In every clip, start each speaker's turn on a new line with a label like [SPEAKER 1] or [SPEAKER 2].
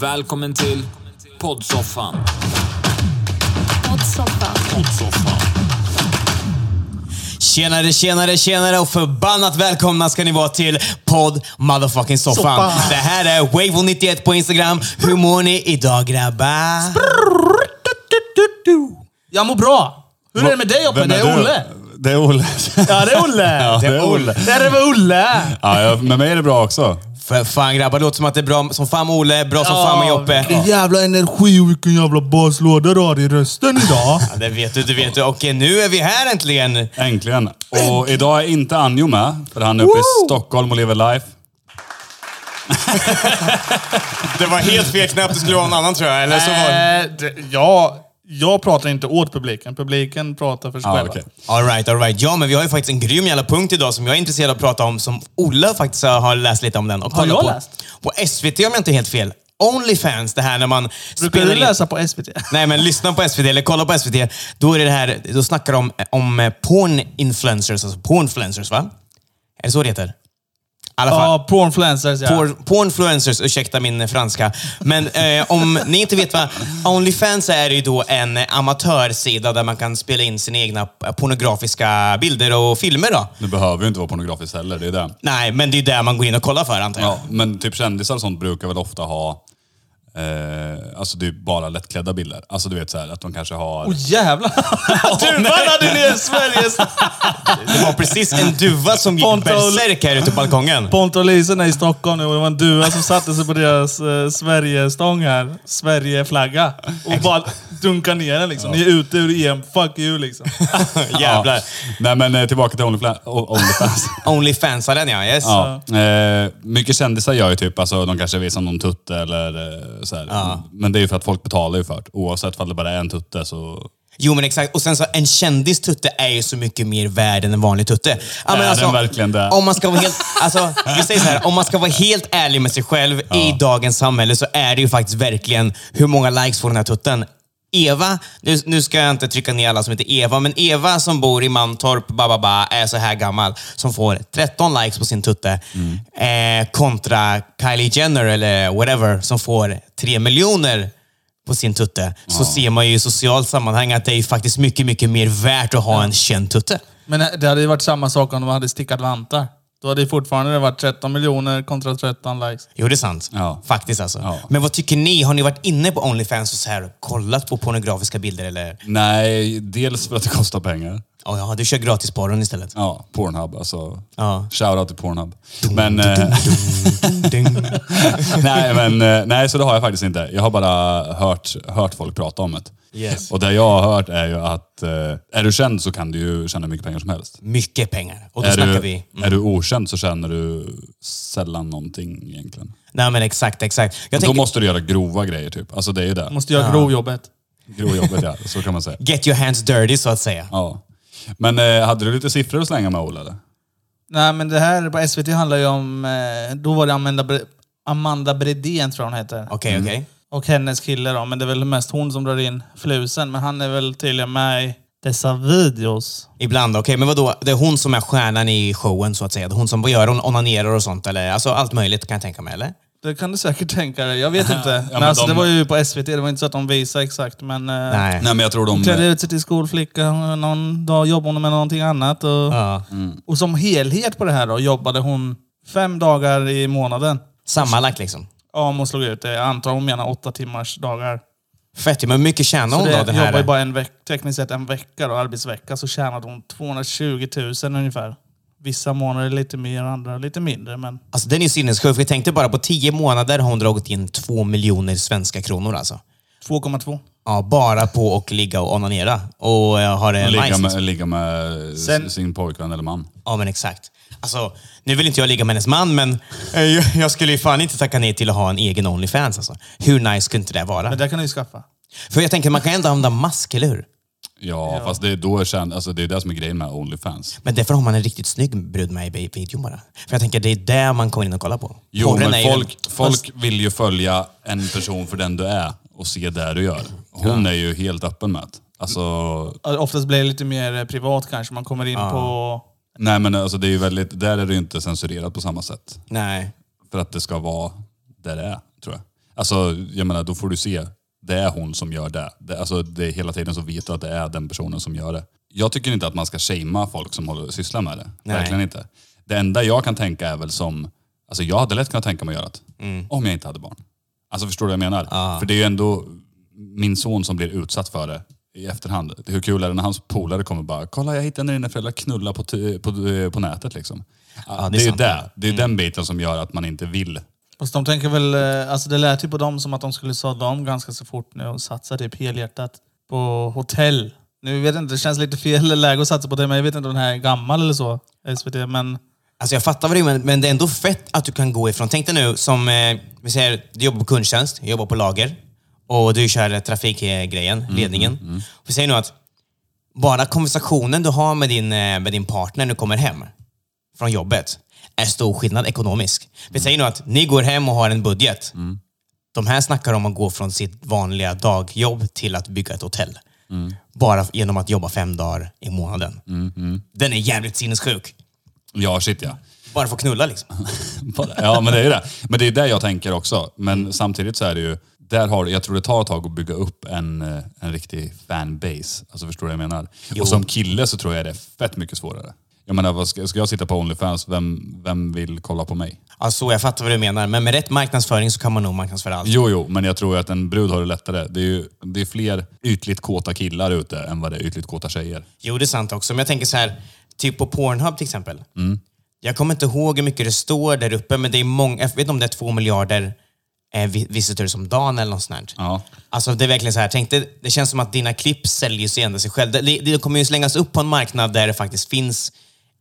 [SPEAKER 1] Välkommen till poddsoffan.
[SPEAKER 2] Poddsoffan.
[SPEAKER 1] Poddsoffan.
[SPEAKER 3] Tjenare, tjenare, tjenare och förbannat välkomna ska ni vara till podd motherfucking soffan.
[SPEAKER 4] Soffan.
[SPEAKER 3] Det här är Wavo91 på Instagram. Hur mår ni idag grabbar?
[SPEAKER 4] Jag mår bra. Hur är det med dig Oppe?
[SPEAKER 5] Vem
[SPEAKER 4] Det är
[SPEAKER 5] du?
[SPEAKER 4] Olle.
[SPEAKER 5] Det är Olle.
[SPEAKER 4] Ja, det är Olle.
[SPEAKER 5] det är Olle.
[SPEAKER 4] Det är väl Olle.
[SPEAKER 5] Ja, jag- med mig är det bra också.
[SPEAKER 3] För fan grabbar, det låter som att det är bra som fan med Olle, bra som
[SPEAKER 4] Ja,
[SPEAKER 3] fan med Joppe.
[SPEAKER 4] Vilken jävla energi och vilken jävla baslåda du har i rösten idag.
[SPEAKER 3] Ja, det vet du, det vet du. Okej, nu är vi här äntligen.
[SPEAKER 5] Äntligen. Och idag är inte Anjo med, för han är uppe i Stockholm och lever life.
[SPEAKER 3] Det var helt fel knapp, det skulle vara någon annan tror jag. Eller så var
[SPEAKER 4] Eh, det- ja, jag pratar inte åt publiken. Publiken pratar för sig
[SPEAKER 5] Ja,
[SPEAKER 4] själva.
[SPEAKER 5] Ah, okej.
[SPEAKER 3] Alright, alright. Ja, men vi har ju faktiskt en grym jävla punkt idag som jag är intresserad av att prata om, som Olle faktiskt har läst lite om den. Och
[SPEAKER 4] Har
[SPEAKER 3] kollat
[SPEAKER 4] jag
[SPEAKER 3] på,
[SPEAKER 4] läst?
[SPEAKER 3] På SVT om jag inte är helt fel. Onlyfans, det här när man
[SPEAKER 4] Brukar
[SPEAKER 3] spelar
[SPEAKER 4] du
[SPEAKER 3] in-
[SPEAKER 4] läsa på SVT?
[SPEAKER 3] Nej, men lyssna på SVT eller kolla på SVT. Då, är det det här, då snackar de om, om eh, porn-influencers, alltså pornfluencers, va? Är det så det heter? I alla fall.
[SPEAKER 4] Ja, pornfluencers ja.
[SPEAKER 3] Por, pornfluencers, ursäkta min eh, franska. Men eh, om ni inte vet vad Onlyfans är är ju då en eh, amatörsida där man kan spela in sina egna eh, pornografiska bilder och filmer. då.
[SPEAKER 5] Nu behöver ju inte vara pornografiskt heller, det är det.
[SPEAKER 3] Nej, men det är ju där man går in och kollar för antar jag.
[SPEAKER 5] Ja, men typ kändisar och sånt brukar väl ofta ha eh, alltså det är bara lättklädda bilder. Alltså du vet så här, att de kanske har...
[SPEAKER 4] Åh jävlar! Duvan hade ner Sveriges...
[SPEAKER 3] Det var precis en duva som gick
[SPEAKER 4] Pontus.
[SPEAKER 3] berserk här ute på balkongen.
[SPEAKER 4] Pontus och Lisen är i Stockholm nu och det var en duva som satte sig på deras eh, Sverigestång här. Sverigeflagga. Och bara dunkade ner den liksom. Ni är ute ur EM, fuck you liksom.
[SPEAKER 3] Jävlar.
[SPEAKER 5] Nej men eh, tillbaka till Onlyfla- O- Onlyfans.
[SPEAKER 3] Onlyfansaren ja, yes.
[SPEAKER 5] Ja. Eh, mycket kändisar gör ju typ, alltså de kanske visar någon tutte eller eh, så här. Men det är ju för att folk betalar ju för det. Oavsett om det bara är en tutte så...
[SPEAKER 3] Jo men exakt. Och sen så, en kändis tutte är ju så mycket mer värd än en vanlig tutte. Ja, alltså,
[SPEAKER 5] Är den verkligen det?
[SPEAKER 3] Om man ska vara helt, alltså, vi säger så här, om man ska vara helt ärlig med sig själv i dagens samhälle så är det ju faktiskt verkligen hur många likes får den här tutten. Eva, nu, nu ska jag inte trycka ner alla som heter Eva, men Eva som bor i Mantorp, bababa, är så här gammal, som får 13 likes på sin tutte. Eh, kontra Kylie Jenner eller whatever, som får 3 miljoner på sin tutte, så ser man ju i socialt sammanhang att det är ju faktiskt mycket, mycket mer värt att ha en känd tutte.
[SPEAKER 4] Men eh, det hade ju varit samma sak om de hade stickat vantar. Då hade det fortfarande varit 13 miljoner kontra 13 likes.
[SPEAKER 3] Jo, det är sant.
[SPEAKER 5] Ja.
[SPEAKER 3] Faktiskt alltså.
[SPEAKER 5] Ja.
[SPEAKER 3] Men vad tycker ni? Har ni varit inne på Onlyfans och så här, kollat på pornografiska bilder? Eller?
[SPEAKER 5] Nej, dels för att det kostar pengar.
[SPEAKER 3] Oh, ja, du kör gratisporren istället.
[SPEAKER 5] Ja, Pornhub alltså.
[SPEAKER 3] Ja.
[SPEAKER 5] Shoutout till Pornhub. Men, eh, nej, men, eh, nej, så det har jag faktiskt inte. Jag har bara hört, hört folk prata om det.
[SPEAKER 3] Yes.
[SPEAKER 5] Och det jag har hört är ju att eh, är du känd så kan du ju tjäna mycket pengar som helst.
[SPEAKER 3] Mycket pengar. Och då
[SPEAKER 5] är,
[SPEAKER 3] snackar
[SPEAKER 5] du,
[SPEAKER 3] vi...
[SPEAKER 5] är du okänd så tjänar du sällan någonting egentligen.
[SPEAKER 3] Nej, men exakt, exakt. Jag
[SPEAKER 5] Då
[SPEAKER 3] tänker,
[SPEAKER 5] måste du göra grova grejer typ. Alltså det är ju det.
[SPEAKER 4] Måste göra grovjobbet.
[SPEAKER 5] Grovjobbet ja, så kan man säga.
[SPEAKER 3] get your hands dirty, så att säga.
[SPEAKER 5] Ja. Men eh, hade du lite siffror att slänga med Ola eller?
[SPEAKER 4] Nej men det här på SVT handlar ju om... eh, Då var det Amanda, Bre- Amanda Bredén tror jag hon heter.
[SPEAKER 3] Okej, okej.
[SPEAKER 4] Och hennes kille då. Men det är väl mest hon som drar in flusen. Men han är väl tydligen med i dessa videos.
[SPEAKER 3] Ibland, okej. Men vadå? Det är hon som är stjärnan i showen, så att säga. Det är hon som vad gör hon onanerar och sånt. Eller? Alltså, allt möjligt kan jag tänka mig, eller?
[SPEAKER 4] Det kan du säkert tänka dig. Jag vet inte. men
[SPEAKER 5] men
[SPEAKER 4] alltså,
[SPEAKER 5] de-
[SPEAKER 4] Det var ju på SVT. Det var inte så att de visade exakt. Men, eh,
[SPEAKER 3] Nej.
[SPEAKER 5] Nej men jag tror de...
[SPEAKER 4] Hon klädde ut sig till skolflicka, någon dag jobbade hon med någonting annat. Och,
[SPEAKER 3] Ja.
[SPEAKER 4] och som helhet på det här då jobbade hon fem dagar i månaden.
[SPEAKER 3] Sammanlagt liksom.
[SPEAKER 4] Ja, om hon slog ut det. Jag antar hon menar åtta timmars dagar.
[SPEAKER 3] Fett ju, men hur mycket tjänar
[SPEAKER 4] Så
[SPEAKER 3] hon
[SPEAKER 4] det,
[SPEAKER 3] då? Den
[SPEAKER 4] jobbar
[SPEAKER 3] här?
[SPEAKER 4] ju bara en veck, tekniskt sett en vecka då, arbetsvecka, så tjänade hon 220 000 ungefär. Vissa månader lite mer, andra lite mindre. Men
[SPEAKER 3] Alltså den är ju sinnessjuk. Vi tänkte bara på tio månader har hon dragit in två miljoner svenska kronor alltså.
[SPEAKER 4] 2,2.
[SPEAKER 3] Ja, bara på att ligga och onanera. Och eh, ha det
[SPEAKER 5] Ligga
[SPEAKER 3] nice.
[SPEAKER 5] med, ligga med
[SPEAKER 4] Sen-
[SPEAKER 5] sin pojkvän eller man.
[SPEAKER 3] Ja, men exakt. Alltså, nu vill inte jag ligga med hennes man, men eh, jag- jag skulle ju fan inte tacka nej till att ha en egen Onlyfans. Alltså. Hur nice kunde inte det vara?
[SPEAKER 4] Men det kan du ju skaffa.
[SPEAKER 3] För jag tänker, man kan ändå använda mask, eller hur?
[SPEAKER 5] Ja, fast det är, då är känd, alltså det är det som är grejen med Onlyfans.
[SPEAKER 3] Men därför har man en riktigt snygg brud med i videon bara. För jag tänker, det är det man kommer in och kollar på.
[SPEAKER 5] Jo,
[SPEAKER 3] Porren är
[SPEAKER 5] men
[SPEAKER 3] ju-
[SPEAKER 5] folk, folk vill ju följa en person för den du är och se det du gör. Hon är ju helt öppen med det. Alltså,
[SPEAKER 4] Ja, Oftast blir det lite mer eh, privat kanske. Man kommer in på...
[SPEAKER 5] nej men alltså det är ju väldigt, där är det ju inte censurerat på samma sätt.
[SPEAKER 3] Nej.
[SPEAKER 5] För att det ska vara där det är, tror jag. Alltså, jag menar, då får du se. Det är hon som gör det. det alltså, det är hela tiden så vet du att det är den personen som gör det. Jag tycker inte att man ska shamea folk som håller, sysslar med det.
[SPEAKER 3] Nej.
[SPEAKER 5] Verkligen inte. Det enda jag kan tänka är väl som... Alltså jag hade lätt kunnat tänka mig att göra det.
[SPEAKER 3] Mm.
[SPEAKER 5] Om jag inte hade barn. Alltså förstår du vad jag menar?
[SPEAKER 3] Ah.
[SPEAKER 5] För det är ju ändå min son som blir utsatt för det i efterhand. Hur kul är det när hans polare kommer och bara, kolla jag hittade när dina föräldrar knullade på, t- på, på nätet liksom.
[SPEAKER 3] det är
[SPEAKER 5] det är ju
[SPEAKER 3] sant. Mm.
[SPEAKER 5] det. Det är ju den biten som gör att man inte vill
[SPEAKER 4] Fast de tänker väl, eh, alltså det lät ju på dem som att de skulle sadla om ganska så fort nu och satsa typ helhjärtat på hotell. Nu vet jag inte, det känns lite fel läge att satsa på det, men jag vet inte om den här är gammal eller så, SVT. Men
[SPEAKER 3] Alltså jag fattar vad du menar, men det är ändå fett att du kan gå ifrån. Tänk dig nu som, eh, vi säger, du jobbar på kundtjänst, jag jobbar på lager och du kör eh, trafikgrejen, ledningen. Vi säger nu att bara konversationen du har med din, eh, med din partner när du kommer hem från jobbet är stor skillnad ekonomisk. Vi säger nu att ni går hem och har en budget. De här snackar om att gå från sitt vanliga dagjobb till att bygga ett hotell. Bara genom att jobba fem dagar i månaden. Den är jävligt sinnessjuk.
[SPEAKER 5] Ja, shit ja.
[SPEAKER 3] Bara för att knulla liksom.
[SPEAKER 5] Bara- Ja, men det är ju det. Men det är det jag tänker också. Men samtidigt så är det ju, där har, jag tror det tar ett tag att bygga upp en, eh, en riktig fanbase. Alltså förstår du vad jag menar? Och som kille så tror jag det är fett mycket svårare. Jag menar, vad ska, ska jag sitta på Onlyfans, vem, vem vill kolla på mig?
[SPEAKER 3] Ja, så Alltså, jag fattar vad du menar. Men med rätt marknadsföring så kan man nog marknadsföra allt.
[SPEAKER 5] Jo, jo, men jag tror att en brud har det lättare. Det är ju det är fler ytligt kåta killar ute än vad det är ytligt kåta tjejer.
[SPEAKER 3] Jo, det är sant också. Men jag tänker så här, typ på Pornhub till exempel. Jag kommer inte ihåg hur mycket det står där uppe, men det är många, jag vet inte om det är två miljarder eh, vi- visitors om dagen eller något sånt. där.
[SPEAKER 5] Ja.
[SPEAKER 3] Alltså det är verkligen så här, tänk dig, det känns som att dina klipp säljer sig ändå sig själv. Det, det, det kommer ju slängas upp på en marknad där det faktiskt finns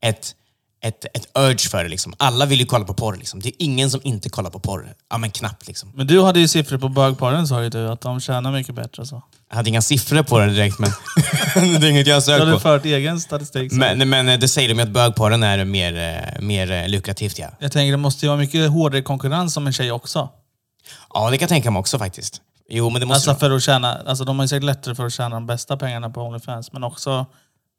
[SPEAKER 3] ett, ett, ett urge för det. Liksom. Alla vill ju kolla på porr. Liksom. Det är ingen som inte kollar på porr. Ja, men knappt liksom.
[SPEAKER 4] Men du hade ju siffror på bögparen sa ju du, att de tjänar mycket bättre. och Så.
[SPEAKER 3] Jag hade inga siffror på det direkt, men det är inget jag
[SPEAKER 4] Du
[SPEAKER 3] sökt
[SPEAKER 4] hade
[SPEAKER 3] på.
[SPEAKER 4] fört egen statistik. så.
[SPEAKER 3] Men, men eh, det säger de ju att bögporren är mer, eh, mer eh, lukrativt. Ja.
[SPEAKER 4] Jag tänker det måste ju vara mycket hårdare konkurrens som en tjej också.
[SPEAKER 3] ja, det kan jag tänka mig också faktiskt. Jo, men det måste
[SPEAKER 4] Alltså för att tjäna, alltså de har ju säkert lättare för att tjäna de bästa pengarna på Onlyfans, men också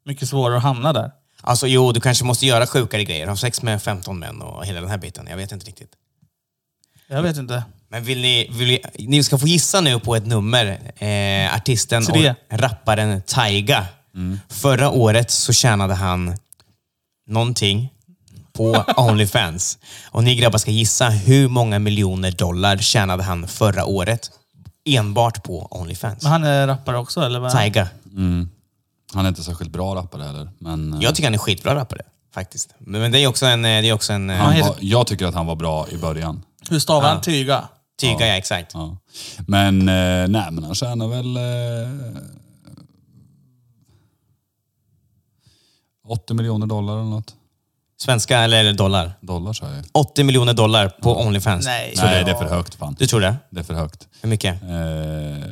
[SPEAKER 4] mycket svårare att hamna där.
[SPEAKER 3] alltså, jo, du kanske måste göra sjukare grejer. Ha sex med 15 män och hela den här biten. Jag vet inte riktigt.
[SPEAKER 4] Jag vet inte.
[SPEAKER 3] Men vill ni, vill ni, ni ska få gissa nu på ett nummer. Eh, artisten
[SPEAKER 4] Tre.
[SPEAKER 3] och rapparen Taiga.
[SPEAKER 4] Mm.
[SPEAKER 3] Förra året så tjänade han någonting på Onlyfans. Och ni grabbar ska gissa hur många miljoner dollar tjänade han förra året enbart på Onlyfans.
[SPEAKER 4] Men han är rappare också eller? vad?
[SPEAKER 3] Taiga.
[SPEAKER 5] Han är inte särskilt bra rappare heller. Men eh,
[SPEAKER 3] Jag tycker han är skitbra rappare faktiskt. Men men det är också en... eh, Det är också en eh,
[SPEAKER 5] han
[SPEAKER 4] heter-
[SPEAKER 5] var, jag tycker att han var bra i början.
[SPEAKER 4] Hur stavar han tyga?
[SPEAKER 3] Tyga, ja exakt.
[SPEAKER 5] Ja. Men, eh, nej, men han tjänar väl... Eh, 80 miljoner dollar eller något.
[SPEAKER 3] Svenska eller dollar?
[SPEAKER 5] Dollar sa jag ju.
[SPEAKER 3] 80 miljoner dollar på Onlyfans.
[SPEAKER 4] Nej.
[SPEAKER 5] Nej, det är för högt fan.
[SPEAKER 3] Du tror det?
[SPEAKER 5] Det är för högt.
[SPEAKER 3] Hur mycket?
[SPEAKER 5] Eh,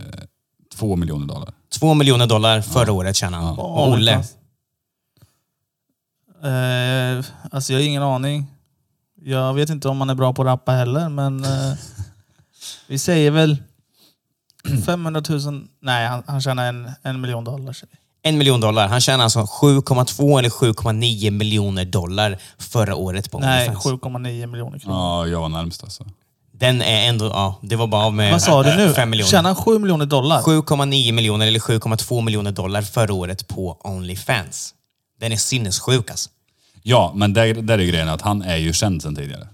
[SPEAKER 5] två miljoner dollar.
[SPEAKER 3] Två miljoner dollar förra året tjänade han.
[SPEAKER 4] Ja,
[SPEAKER 3] Olle.
[SPEAKER 4] Onlyfans. Eh, alltså jag har ingen aning. Jag vet inte om han är bra på att rappa heller, men eh, vi säger väl 500 000... Nej, han, han tjänar en, en miljon dollar.
[SPEAKER 3] En miljon dollar. Han tjänar alltså 7,2 eller 7,9 miljoner dollar förra året på
[SPEAKER 4] Nej,
[SPEAKER 3] Onlyfans.
[SPEAKER 4] 7,9 miljoner kronor.
[SPEAKER 5] Ja, jag var närmst alltså.
[SPEAKER 3] Den är ändå... Ja, det var bara av med eh,
[SPEAKER 4] Vad sa du nu?
[SPEAKER 3] Fem miljoner.
[SPEAKER 4] Tjänar han 7 miljoner dollar?
[SPEAKER 3] 7,9 miljoner eller 7,2 miljoner dollar förra året på Onlyfans. Den är sinnessjuk alltså.
[SPEAKER 5] Ja, men där, där är ju grejen att han är ju känd sedan tidigare.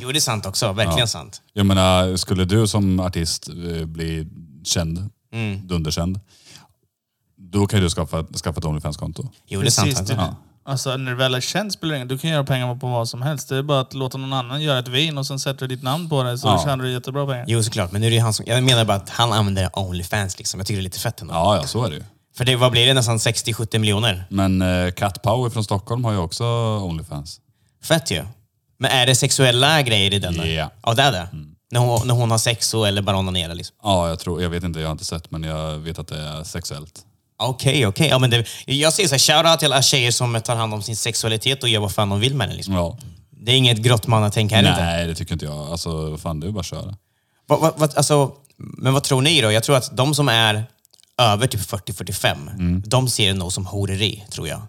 [SPEAKER 3] Jo, det är sant också. Verkligen sant.
[SPEAKER 5] Jag menar, skulle du som artist eh, bli känd, dunderkänd, då kan ju du skaffa, skaffa ett Onlyfans-konto.
[SPEAKER 3] Jo, det är
[SPEAKER 4] Precis,
[SPEAKER 3] sant.
[SPEAKER 4] det-
[SPEAKER 3] Alltså.
[SPEAKER 4] Alltså när det väl är känt spelar det ingen Du kan göra pengar på vad som helst. Det är bara att låta någon annan göra ett vin och sen sätter du ditt namn på det så
[SPEAKER 5] Ja.
[SPEAKER 4] tjänar du jättebra pengar.
[SPEAKER 3] Jo, såklart. Men nu är det ju han som, jag menar bara att han använder Onlyfans. Liksom. Jag tycker det är lite fett ändå.
[SPEAKER 5] Ja, ja, så är det ju.
[SPEAKER 3] För det, vad blir det? Nästan 60-70 miljoner?
[SPEAKER 5] Men eh, Cat Power från Stockholm har ju också Onlyfans.
[SPEAKER 3] Fett ju. Men är det sexuella grejer i den? där?
[SPEAKER 5] Ja. Mm.
[SPEAKER 3] Ja, det är det. När, hon, när hon har sex och, eller bara onanerar liksom.
[SPEAKER 5] Ja, jag tror, jag vet inte, jag har inte sett men jag vet att det är sexuellt.
[SPEAKER 3] Okej, okej. Ja, men det, jag säger så här, shoutout till alla tjejer som tar hand om sin sexualitet och gör vad fan de vill med den. Liksom.
[SPEAKER 5] Ja.
[SPEAKER 3] Det är inget grottmannatänk här inte.
[SPEAKER 5] Mm. Nej, det tycker inte jag. Alltså, fan det är bara att köra.
[SPEAKER 3] Vad, vad, vad, alltså, men vad tror ni då? Jag tror att de som är över typ 40-45,
[SPEAKER 5] Mm.
[SPEAKER 3] de ser det nog som horeri, tror jag.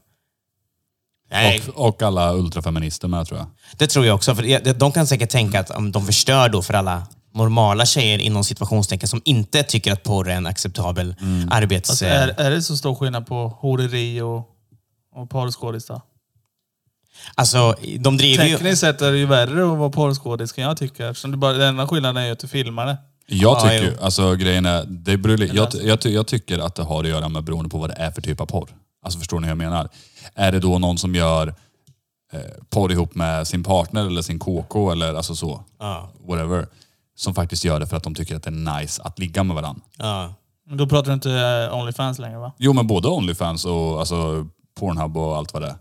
[SPEAKER 3] Nej,
[SPEAKER 5] Och, och alla ultrafeminister med tror jag.
[SPEAKER 3] det tror jag också. För det- de kan säkert tänka att om de förstör då för alla normala tjejer inom situationstecken som inte tycker att porr är en acceptabel
[SPEAKER 5] Mm.
[SPEAKER 3] arbets...
[SPEAKER 4] Alltså,
[SPEAKER 3] eh,
[SPEAKER 4] är, är det så stor skillnad på horeri och, och porrskådis då?
[SPEAKER 3] alltså, de driver ju...
[SPEAKER 4] Tekniskt sett är det ju värre att vara porrskådis kan jag tycka. Eftersom det bara, den enda skillnaden är ju att du filmar det.
[SPEAKER 5] Jag
[SPEAKER 3] Ja,
[SPEAKER 5] tycker
[SPEAKER 3] jo.
[SPEAKER 5] ju, alltså grejen är, det beror, li- jag, ty- jag, ty- jag tycker att det har att göra med beroende på vad det är för typ av porr. Alltså förstår ni hur jag menar? Är det då någon som gör eh, porr ihop med sin partner eller sin KK eller alltså så, whatever, som faktiskt gör det för att de tycker att det är nice att ligga med varandra.
[SPEAKER 3] Ja.
[SPEAKER 4] Men då pratar du inte eh, Onlyfans längre va?
[SPEAKER 5] Jo men både Onlyfans och alltså, Pornhub och allt vad det är.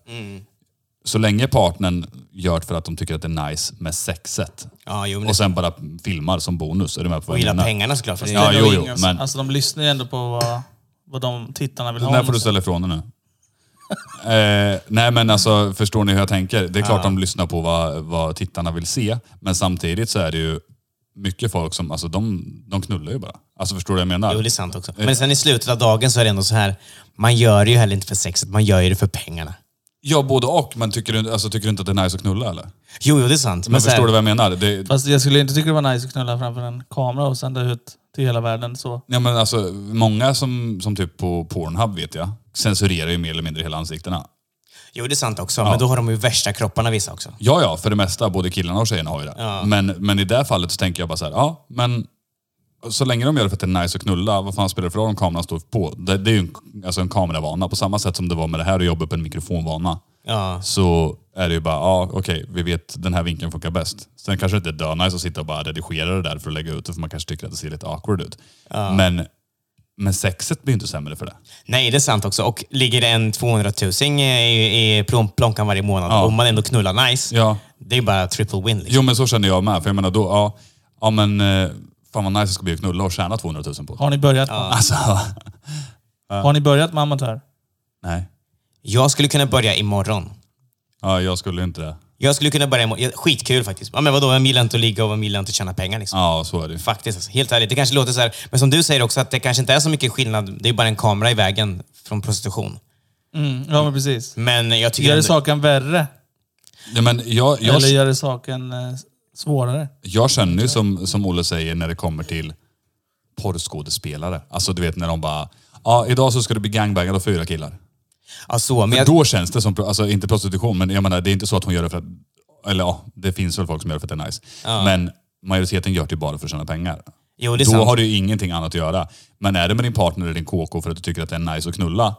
[SPEAKER 5] Så länge partnern gör det för att de tycker att det är nice med sexet
[SPEAKER 3] Ja, jo, men
[SPEAKER 5] och sen bara filmar som bonus, är du med på
[SPEAKER 3] och
[SPEAKER 5] vad jag
[SPEAKER 3] gillar
[SPEAKER 5] menar?
[SPEAKER 3] pengarna såklart. För det,
[SPEAKER 5] Ja,
[SPEAKER 4] Det är
[SPEAKER 5] jo,
[SPEAKER 4] nog
[SPEAKER 5] jo,
[SPEAKER 4] ingen-
[SPEAKER 5] men-
[SPEAKER 4] Alltså de lyssnar ju ändå på vad, vad de tittarna vill
[SPEAKER 5] Den
[SPEAKER 4] ha.
[SPEAKER 5] där får du
[SPEAKER 4] någonstans.
[SPEAKER 5] ställa ifrån dig nu. eh, nej men alltså, förstår ni hur jag tänker? Det är klart de lyssnar på vad, vad tittarna vill se, men samtidigt så är det ju mycket folk som, alltså de, de knullar ju bara. Alltså förstår du vad jag menar?
[SPEAKER 3] jo, det är sant också. Men sen i slutet av dagen så är det ändå så här, man gör det ju heller inte för sexet, man gör ju det för pengarna.
[SPEAKER 5] Ja, både och, men tycker du, alltså, tycker du inte att det är nice att knulla eller? Men,
[SPEAKER 3] Jo, jo, det är sant. Men, så här,
[SPEAKER 5] förstår du vad jag menar? Det,
[SPEAKER 4] Fast jag skulle inte tycka det var nice att knulla framför en kamera och sända ut till hela världen. Så.
[SPEAKER 5] Ja, men alltså, många som, som typ på Pornhub vet jag, censurerar ju mer eller mindre hela ansiktena.
[SPEAKER 3] Jo, det är sant också. Men då har de ju värsta kropparna vissa också.
[SPEAKER 5] Ja, ja, för det mesta. Både killarna och tjejerna har ju det. Men, men i det här fallet så tänker jag bara så här, ja, men så länge de gör det för att det är nice att knulla, vad fan spelar det för roll om kameran står på? Det, det är ju en, alltså en kameravana. På samma sätt som det var med det här att jobba på en mikrofonvana.
[SPEAKER 3] Ja.
[SPEAKER 5] Så är det ju bara, ja okej, vi vet den här vinkeln funkar bäst. Sen kanske det inte är nice att sitta och bara redigera det där för att lägga ut det, för man kanske tycker att det ser lite awkward ut. Men, men sexet blir ju inte sämre för det.
[SPEAKER 3] Nej, det är sant också. Och ligger det en 200 000 i, i plon- plånkan varje månad och man ändå knullar nice,
[SPEAKER 5] Ja.
[SPEAKER 3] det är bara triple win. Liksom.
[SPEAKER 5] Jo men så känner jag med, för jag menar då, ja, ja men eh, fan vad nice det ska bli att knulla och tjäna 200 000 på.
[SPEAKER 4] Har ni börjat med,
[SPEAKER 5] Alltså,
[SPEAKER 4] har ni börjat med amatör?
[SPEAKER 5] nej.
[SPEAKER 3] Jag skulle kunna börja imorgon.
[SPEAKER 5] Ja, jag skulle inte det.
[SPEAKER 3] Jag skulle kunna börja imorgon. Ja, Skitkul faktiskt. Ja, men vadå, vem gillar inte att ligga och vem gillar inte att tjäna pengar? Liksom.
[SPEAKER 5] Ja, så är det ju.
[SPEAKER 3] Faktiskt, alltså, helt ärligt. Det kanske låter så här, men som du säger också, att det kanske inte är så mycket skillnad. Det är bara en kamera i vägen från prostitution.
[SPEAKER 4] Mm, ja, men precis.
[SPEAKER 3] Men jag tycker
[SPEAKER 4] Gör det
[SPEAKER 3] ändå-
[SPEAKER 4] saken värre?
[SPEAKER 5] Ja, men jag, jag,
[SPEAKER 4] Eller gör det saken eh, svårare?
[SPEAKER 5] jag känner ju som, som Olle säger när det kommer till porrskådespelare. Alltså du vet när de bara, ja idag så ska du bli gangbangad av fyra killar.
[SPEAKER 3] ja, så, men
[SPEAKER 5] Men
[SPEAKER 3] jag,
[SPEAKER 5] då känns det som, pro- alltså inte prostitution, men jag menar det är inte så att hon gör det för att, eller ja, det finns väl folk som gör det för att det är nice. Men majoriteten gör det ju bara för att tjäna pengar.
[SPEAKER 3] jo, det är
[SPEAKER 5] Då
[SPEAKER 3] sant.
[SPEAKER 5] har du ju ingenting annat att göra. Men är det med din partner eller din KK för att du tycker att det är nice att knulla,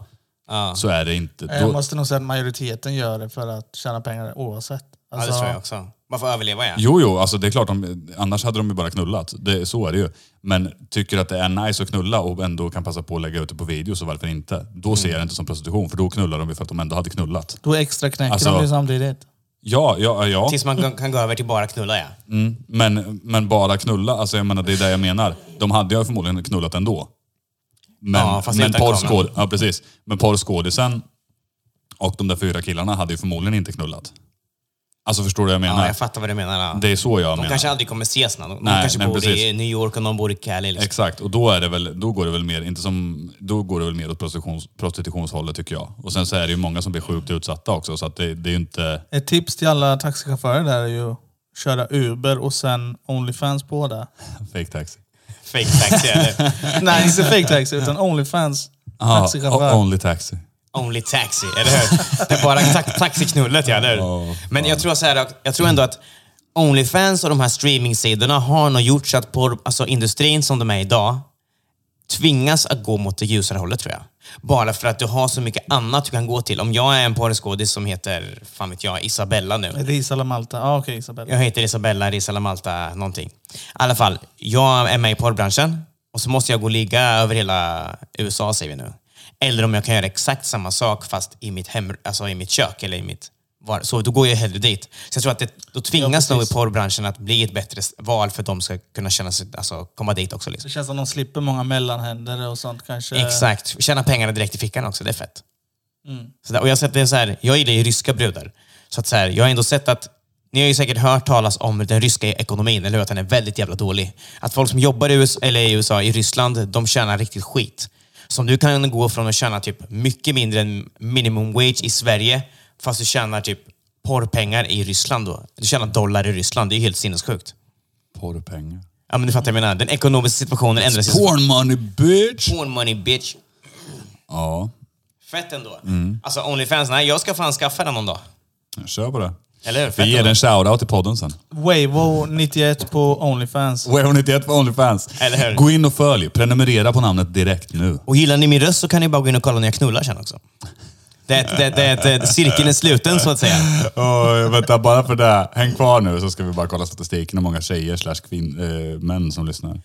[SPEAKER 5] så är det inte...
[SPEAKER 4] Jag
[SPEAKER 5] Då,
[SPEAKER 4] Eh, måste nog säga att majoriteten gör det för att tjäna pengar oavsett. Alltså,
[SPEAKER 3] Ja, det tror jag också. Man får överleva, ja.
[SPEAKER 5] jo, jo, alltså det är klart, de, annars hade de ju bara knullat. Det, så är det ju. Men tycker att det är nice att knulla och ändå kan passa på att lägga ut det på video, så varför inte? Då ser
[SPEAKER 3] Mm.
[SPEAKER 5] jag det inte som prostitution, för då knullar de ju för att de ändå hade knullat.
[SPEAKER 4] Då extra knäcker
[SPEAKER 5] Alltså-
[SPEAKER 4] de ju samtidigt.
[SPEAKER 5] Ja, ja, ja.
[SPEAKER 3] Tills man kan- kan gå över till bara knulla, ja.
[SPEAKER 5] Men, men bara knulla, alltså jag menar, det är det jag menar. De hade ju förmodligen knullat ändå. Men,
[SPEAKER 3] Ja, fast
[SPEAKER 5] men,
[SPEAKER 3] utan kameran.
[SPEAKER 5] porrskåd, ja, precis. men porrskådisen och de där fyra killarna hade ju förmodligen inte knullat. Alltså förstår du vad jag menar?
[SPEAKER 3] ja jag fattar vad du menar. Ja.
[SPEAKER 5] Det är så jag
[SPEAKER 3] De
[SPEAKER 5] menar.
[SPEAKER 3] kanske aldrig kommer ses. Någon. De
[SPEAKER 5] Nej,
[SPEAKER 3] kanske
[SPEAKER 5] nej,
[SPEAKER 3] bor i
[SPEAKER 5] precis.
[SPEAKER 3] New York och någon bor i Cali. Liksom.
[SPEAKER 5] Exakt, och då, är det väl, då går det väl mer, inte som, då går det väl mer åt prostitutions, prostitutionshållet tycker jag. Och sen så är det ju många som blir sjukt utsatta också, så att det, det är ju inte...
[SPEAKER 4] Ett tips till alla taxichaufförer där är ju att köra Uber och sen Onlyfans på det.
[SPEAKER 5] Fake taxi.
[SPEAKER 3] Fake taxi eller
[SPEAKER 4] Nej, inte fake taxi utan Onlyfans
[SPEAKER 5] Ja,
[SPEAKER 4] taxichaufför.
[SPEAKER 5] only taxi.
[SPEAKER 3] Only taxi, eller hur? Det är bara ta- taxiknullet, ja. Eller? hur? Men jag tror, så här, jag tror ändå att Onlyfans och de här streamingsidorna har nog gjort så att porr, alltså industrin som de är idag tvingas att gå mot det ljusare hållet, tror jag. Bara för att du har så mycket annat du kan gå till. Om jag är en porrskådis som heter, fan vet jag, Isabella nu.
[SPEAKER 4] Är det Isabella Malta? Ja, ah, okej Isabella.
[SPEAKER 3] Jag heter Isabella Risala Malta någonting. I alla fall, jag är med i porrbranschen och så måste jag gå och ligga över hela USA säger vi nu. Eller om jag kan göra exakt samma sak fast i mitt, hem, alltså i mitt kök eller i mitt var. Så då går jag hellre dit. Så jag tror att det, då tvingas nog i porrbranschen att bli ett bättre s- val för att de ska kunna känna sig, alltså komma dit också. Liksom.
[SPEAKER 4] Det känns som de slipper många mellanhänder och sånt kanske.
[SPEAKER 3] Exakt. Tjäna pengarna direkt i fickan också, det är fett. Så där, och jag, har sett det så här, jag gillar ju ryska brudar. Så att så här, jag har ändå sett att, ni har ju säkert hört talas om den ryska ekonomin, eller hur? Att den är väldigt jävla dålig. Att folk som jobbar i USA, eller i, USA, i Ryssland, de tjänar riktigt skit. Så om du kan gå från att tjäna typ mycket mindre än minimum wage i Sverige, fast du tjänar typ porrpengar i Ryssland då. Du tjänar dollar i Ryssland, det är ju helt sinnessjukt.
[SPEAKER 5] Porrpengar.
[SPEAKER 3] Ja, men du fattar vad jag menar. Den ekonomiska situationen ändras ju.
[SPEAKER 5] Porn money bitch!
[SPEAKER 3] Porn money bitch.
[SPEAKER 5] Ja,
[SPEAKER 3] Fett ändå. Alltså Onlyfans, nej jag ska fan skaffa den någon dag.
[SPEAKER 5] kör på det.
[SPEAKER 3] Eller hur? Fett
[SPEAKER 5] Vi ger
[SPEAKER 3] ändå.
[SPEAKER 5] den en shoutout i podden sen.
[SPEAKER 4] Wavo 91 på Onlyfans.
[SPEAKER 5] Where 91 på Onlyfans.
[SPEAKER 3] Eller hur?
[SPEAKER 5] Gå in och följ. Prenumerera på namnet direkt nu.
[SPEAKER 3] Och gillar ni min röst så kan ni bara gå in och kolla när jag knullar sen också. Det, är ett- det, det, det, det, cirkeln är sluten så att säga.
[SPEAKER 5] Oh, vänta, bara för det. Häng kvar nu så ska vi bara kolla statistiken hur många tjejer slash kvin- eh, män som lyssnar.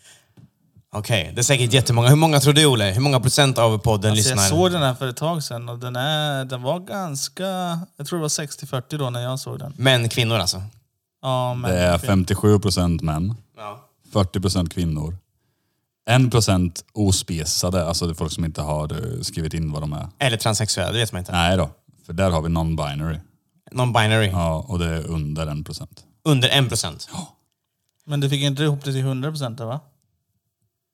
[SPEAKER 3] Okej, det är säkert jättemånga. Hur många tror du Olle? Hur många procent av podden
[SPEAKER 4] Så
[SPEAKER 3] lyssnar?
[SPEAKER 4] Alltså, jag såg den här för ett tag sedan och den, är, den var ganska... Jag tror det var 60-40 då när jag såg den.
[SPEAKER 3] Män, kvinnor alltså?
[SPEAKER 4] Ja, men
[SPEAKER 5] Det är 57% män,
[SPEAKER 3] Ja.
[SPEAKER 5] 40% kvinnor, 1% ospesade, alltså det är folk som inte har eh, skrivit in vad de är.
[SPEAKER 3] Eller transsexuella, det vet man inte.
[SPEAKER 5] Nej då, för där har vi non-binary.
[SPEAKER 3] Non-binary.
[SPEAKER 5] Ja, och det är under 1%.
[SPEAKER 3] Under en procent.
[SPEAKER 4] men du fick inte ihop det till 100% va?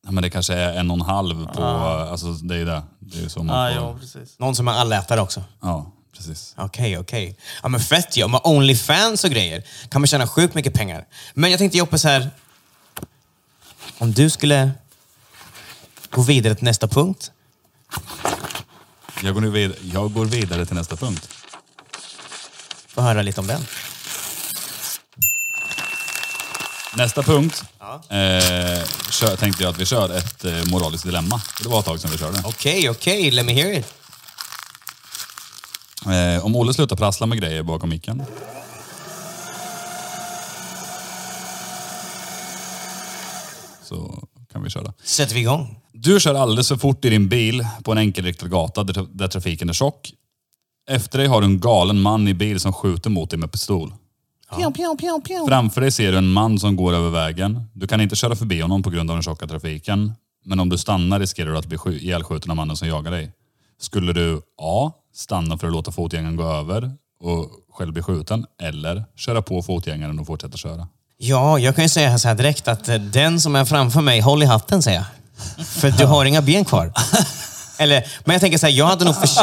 [SPEAKER 5] Ja, men det kanske är en och en halv på...
[SPEAKER 3] Ah.
[SPEAKER 5] Alltså det är ju det. Det är ju så man
[SPEAKER 4] Ah, Ja,
[SPEAKER 5] får...
[SPEAKER 4] jo, precis.
[SPEAKER 3] Någon som är allätare också.
[SPEAKER 5] Ja, precis.
[SPEAKER 3] Okej, okej. Ja men fett ja. Med Onlyfans och grejer kan man tjäna sjukt mycket pengar. Men jag tänkte Joppe så här. Om du skulle gå vidare till nästa punkt.
[SPEAKER 5] Jag går, nu vid... jag går vidare till nästa punkt.
[SPEAKER 3] Få höra lite om den.
[SPEAKER 5] Nästa punkt eh, kör, tänkte jag att vi kör ett eh, moraliskt dilemma. Det var ett tag sedan vi körde.
[SPEAKER 3] Okej, okej. Let me hear it.
[SPEAKER 5] Eh, om Olle slutar prassla med grejer bakom micken. Så kan vi köra.
[SPEAKER 3] Sätter vi igång.
[SPEAKER 5] Du kör alldeles för fort i din bil på en enkelriktad gata där, där trafiken är tjock. Efter dig har du en galen man i bil som skjuter mot dig med pistol. Framför dig ser du en man som går över vägen. Du kan inte köra förbi honom på grund av den tjocka trafiken. Men om du stannar riskerar du att bli skj- ihjälskjuten av mannen som jagar dig. Skulle du A. Stanna för att låta fotgängaren gå över och själv bli skjuten. Eller köra på fotgängaren och fortsätta köra.
[SPEAKER 3] Ja, jag kan ju säga så här direkt att eh, den som är framför mig, håll i hatten säger jag. För du har inga ben kvar. Eller, men jag tänker så här, jag hade nog förs-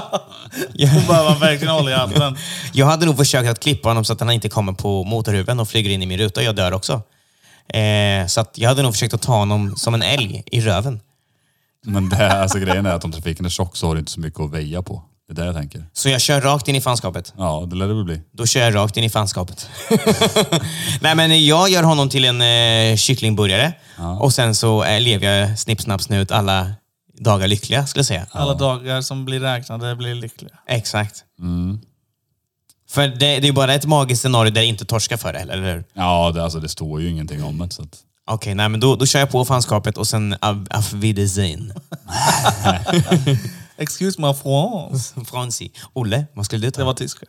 [SPEAKER 4] Då behöver man verkligen hålla i hatten.
[SPEAKER 3] Jag hade nog försökt att klippa honom så att han inte kommer på motorhuven och flyger in i min ruta. Jag dör också. Eh, så att jag hade nog försökt att ta honom som en älg i röven.
[SPEAKER 5] Men det, här, alltså, grejen är att om trafiken är tjock så har du inte så mycket att väja på. Det är det jag tänker.
[SPEAKER 3] Så jag kör rakt in i fanskapet.
[SPEAKER 5] Ja, det lär det väl bli.
[SPEAKER 3] Då kör jag rakt in i fanskapet. Nej, men jag gör honom till en eh, kycklingburgare. Och sen så eh, lever jag snipp, snapp, snut alla dagar lyckliga, skulle jag säga.
[SPEAKER 4] Alla dagar som blir räknade blir lyckliga.
[SPEAKER 3] Exakt. För det, det är ju bara ett magiskt scenario där jag inte torskar för det, eller hur?
[SPEAKER 5] Ja, det, alltså, det står ju ingenting om det. Så att...
[SPEAKER 3] Okej, nej men då, då kör jag på fanskapet och sen av, auf Wiedersehen.
[SPEAKER 4] Excuse my France.
[SPEAKER 3] Franzi. Olle, vad skulle du ta?
[SPEAKER 4] Det var tyska.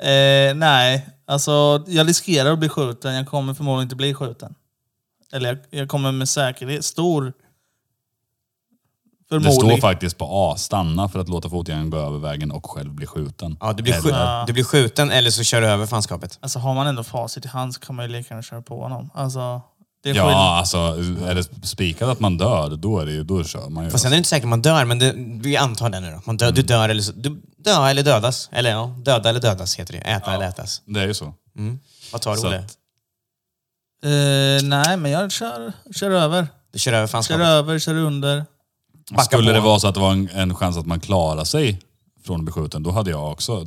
[SPEAKER 4] eh, nej, alltså jag riskerar att bli skjuten. Jag kommer förmodligen inte bli skjuten. Eller jag, jag kommer med säkerhet, stor
[SPEAKER 5] Det står
[SPEAKER 4] förmodligen.
[SPEAKER 5] faktiskt på A. Stanna för att låta fotgängaren gå över vägen och själv bli skjuten.
[SPEAKER 3] Ja, du blir,
[SPEAKER 5] Eller-
[SPEAKER 3] skj- du blir skjuten eller så kör du över fanskapet.
[SPEAKER 4] Alltså har man ändå facit i hand så kan man ju lika gärna köra på honom. Alltså, det är
[SPEAKER 5] Ja,
[SPEAKER 4] skillnad.
[SPEAKER 5] alltså är det spikat att man dör, då, är det ju, då kör man ju.
[SPEAKER 3] Fast sen är det inte säkert att man dör, men det, vi antar det nu då. Man dör, Du dör eller, så, du, dö eller dödas. Eller ja, döda eller dödas heter det. Äta eller ätas.
[SPEAKER 5] Det är ju så.
[SPEAKER 3] Vad tar du
[SPEAKER 5] Så
[SPEAKER 3] Olle?
[SPEAKER 5] att-
[SPEAKER 4] Eh, nej, men jag kör, kör över.
[SPEAKER 3] Du kör över
[SPEAKER 4] Kör
[SPEAKER 3] fanskapet.
[SPEAKER 4] över, kör under.
[SPEAKER 3] Backa
[SPEAKER 5] Skulle
[SPEAKER 3] på.
[SPEAKER 5] det vara så att det var en, en chans att man klarar sig från att bli skjuten, då hade jag också...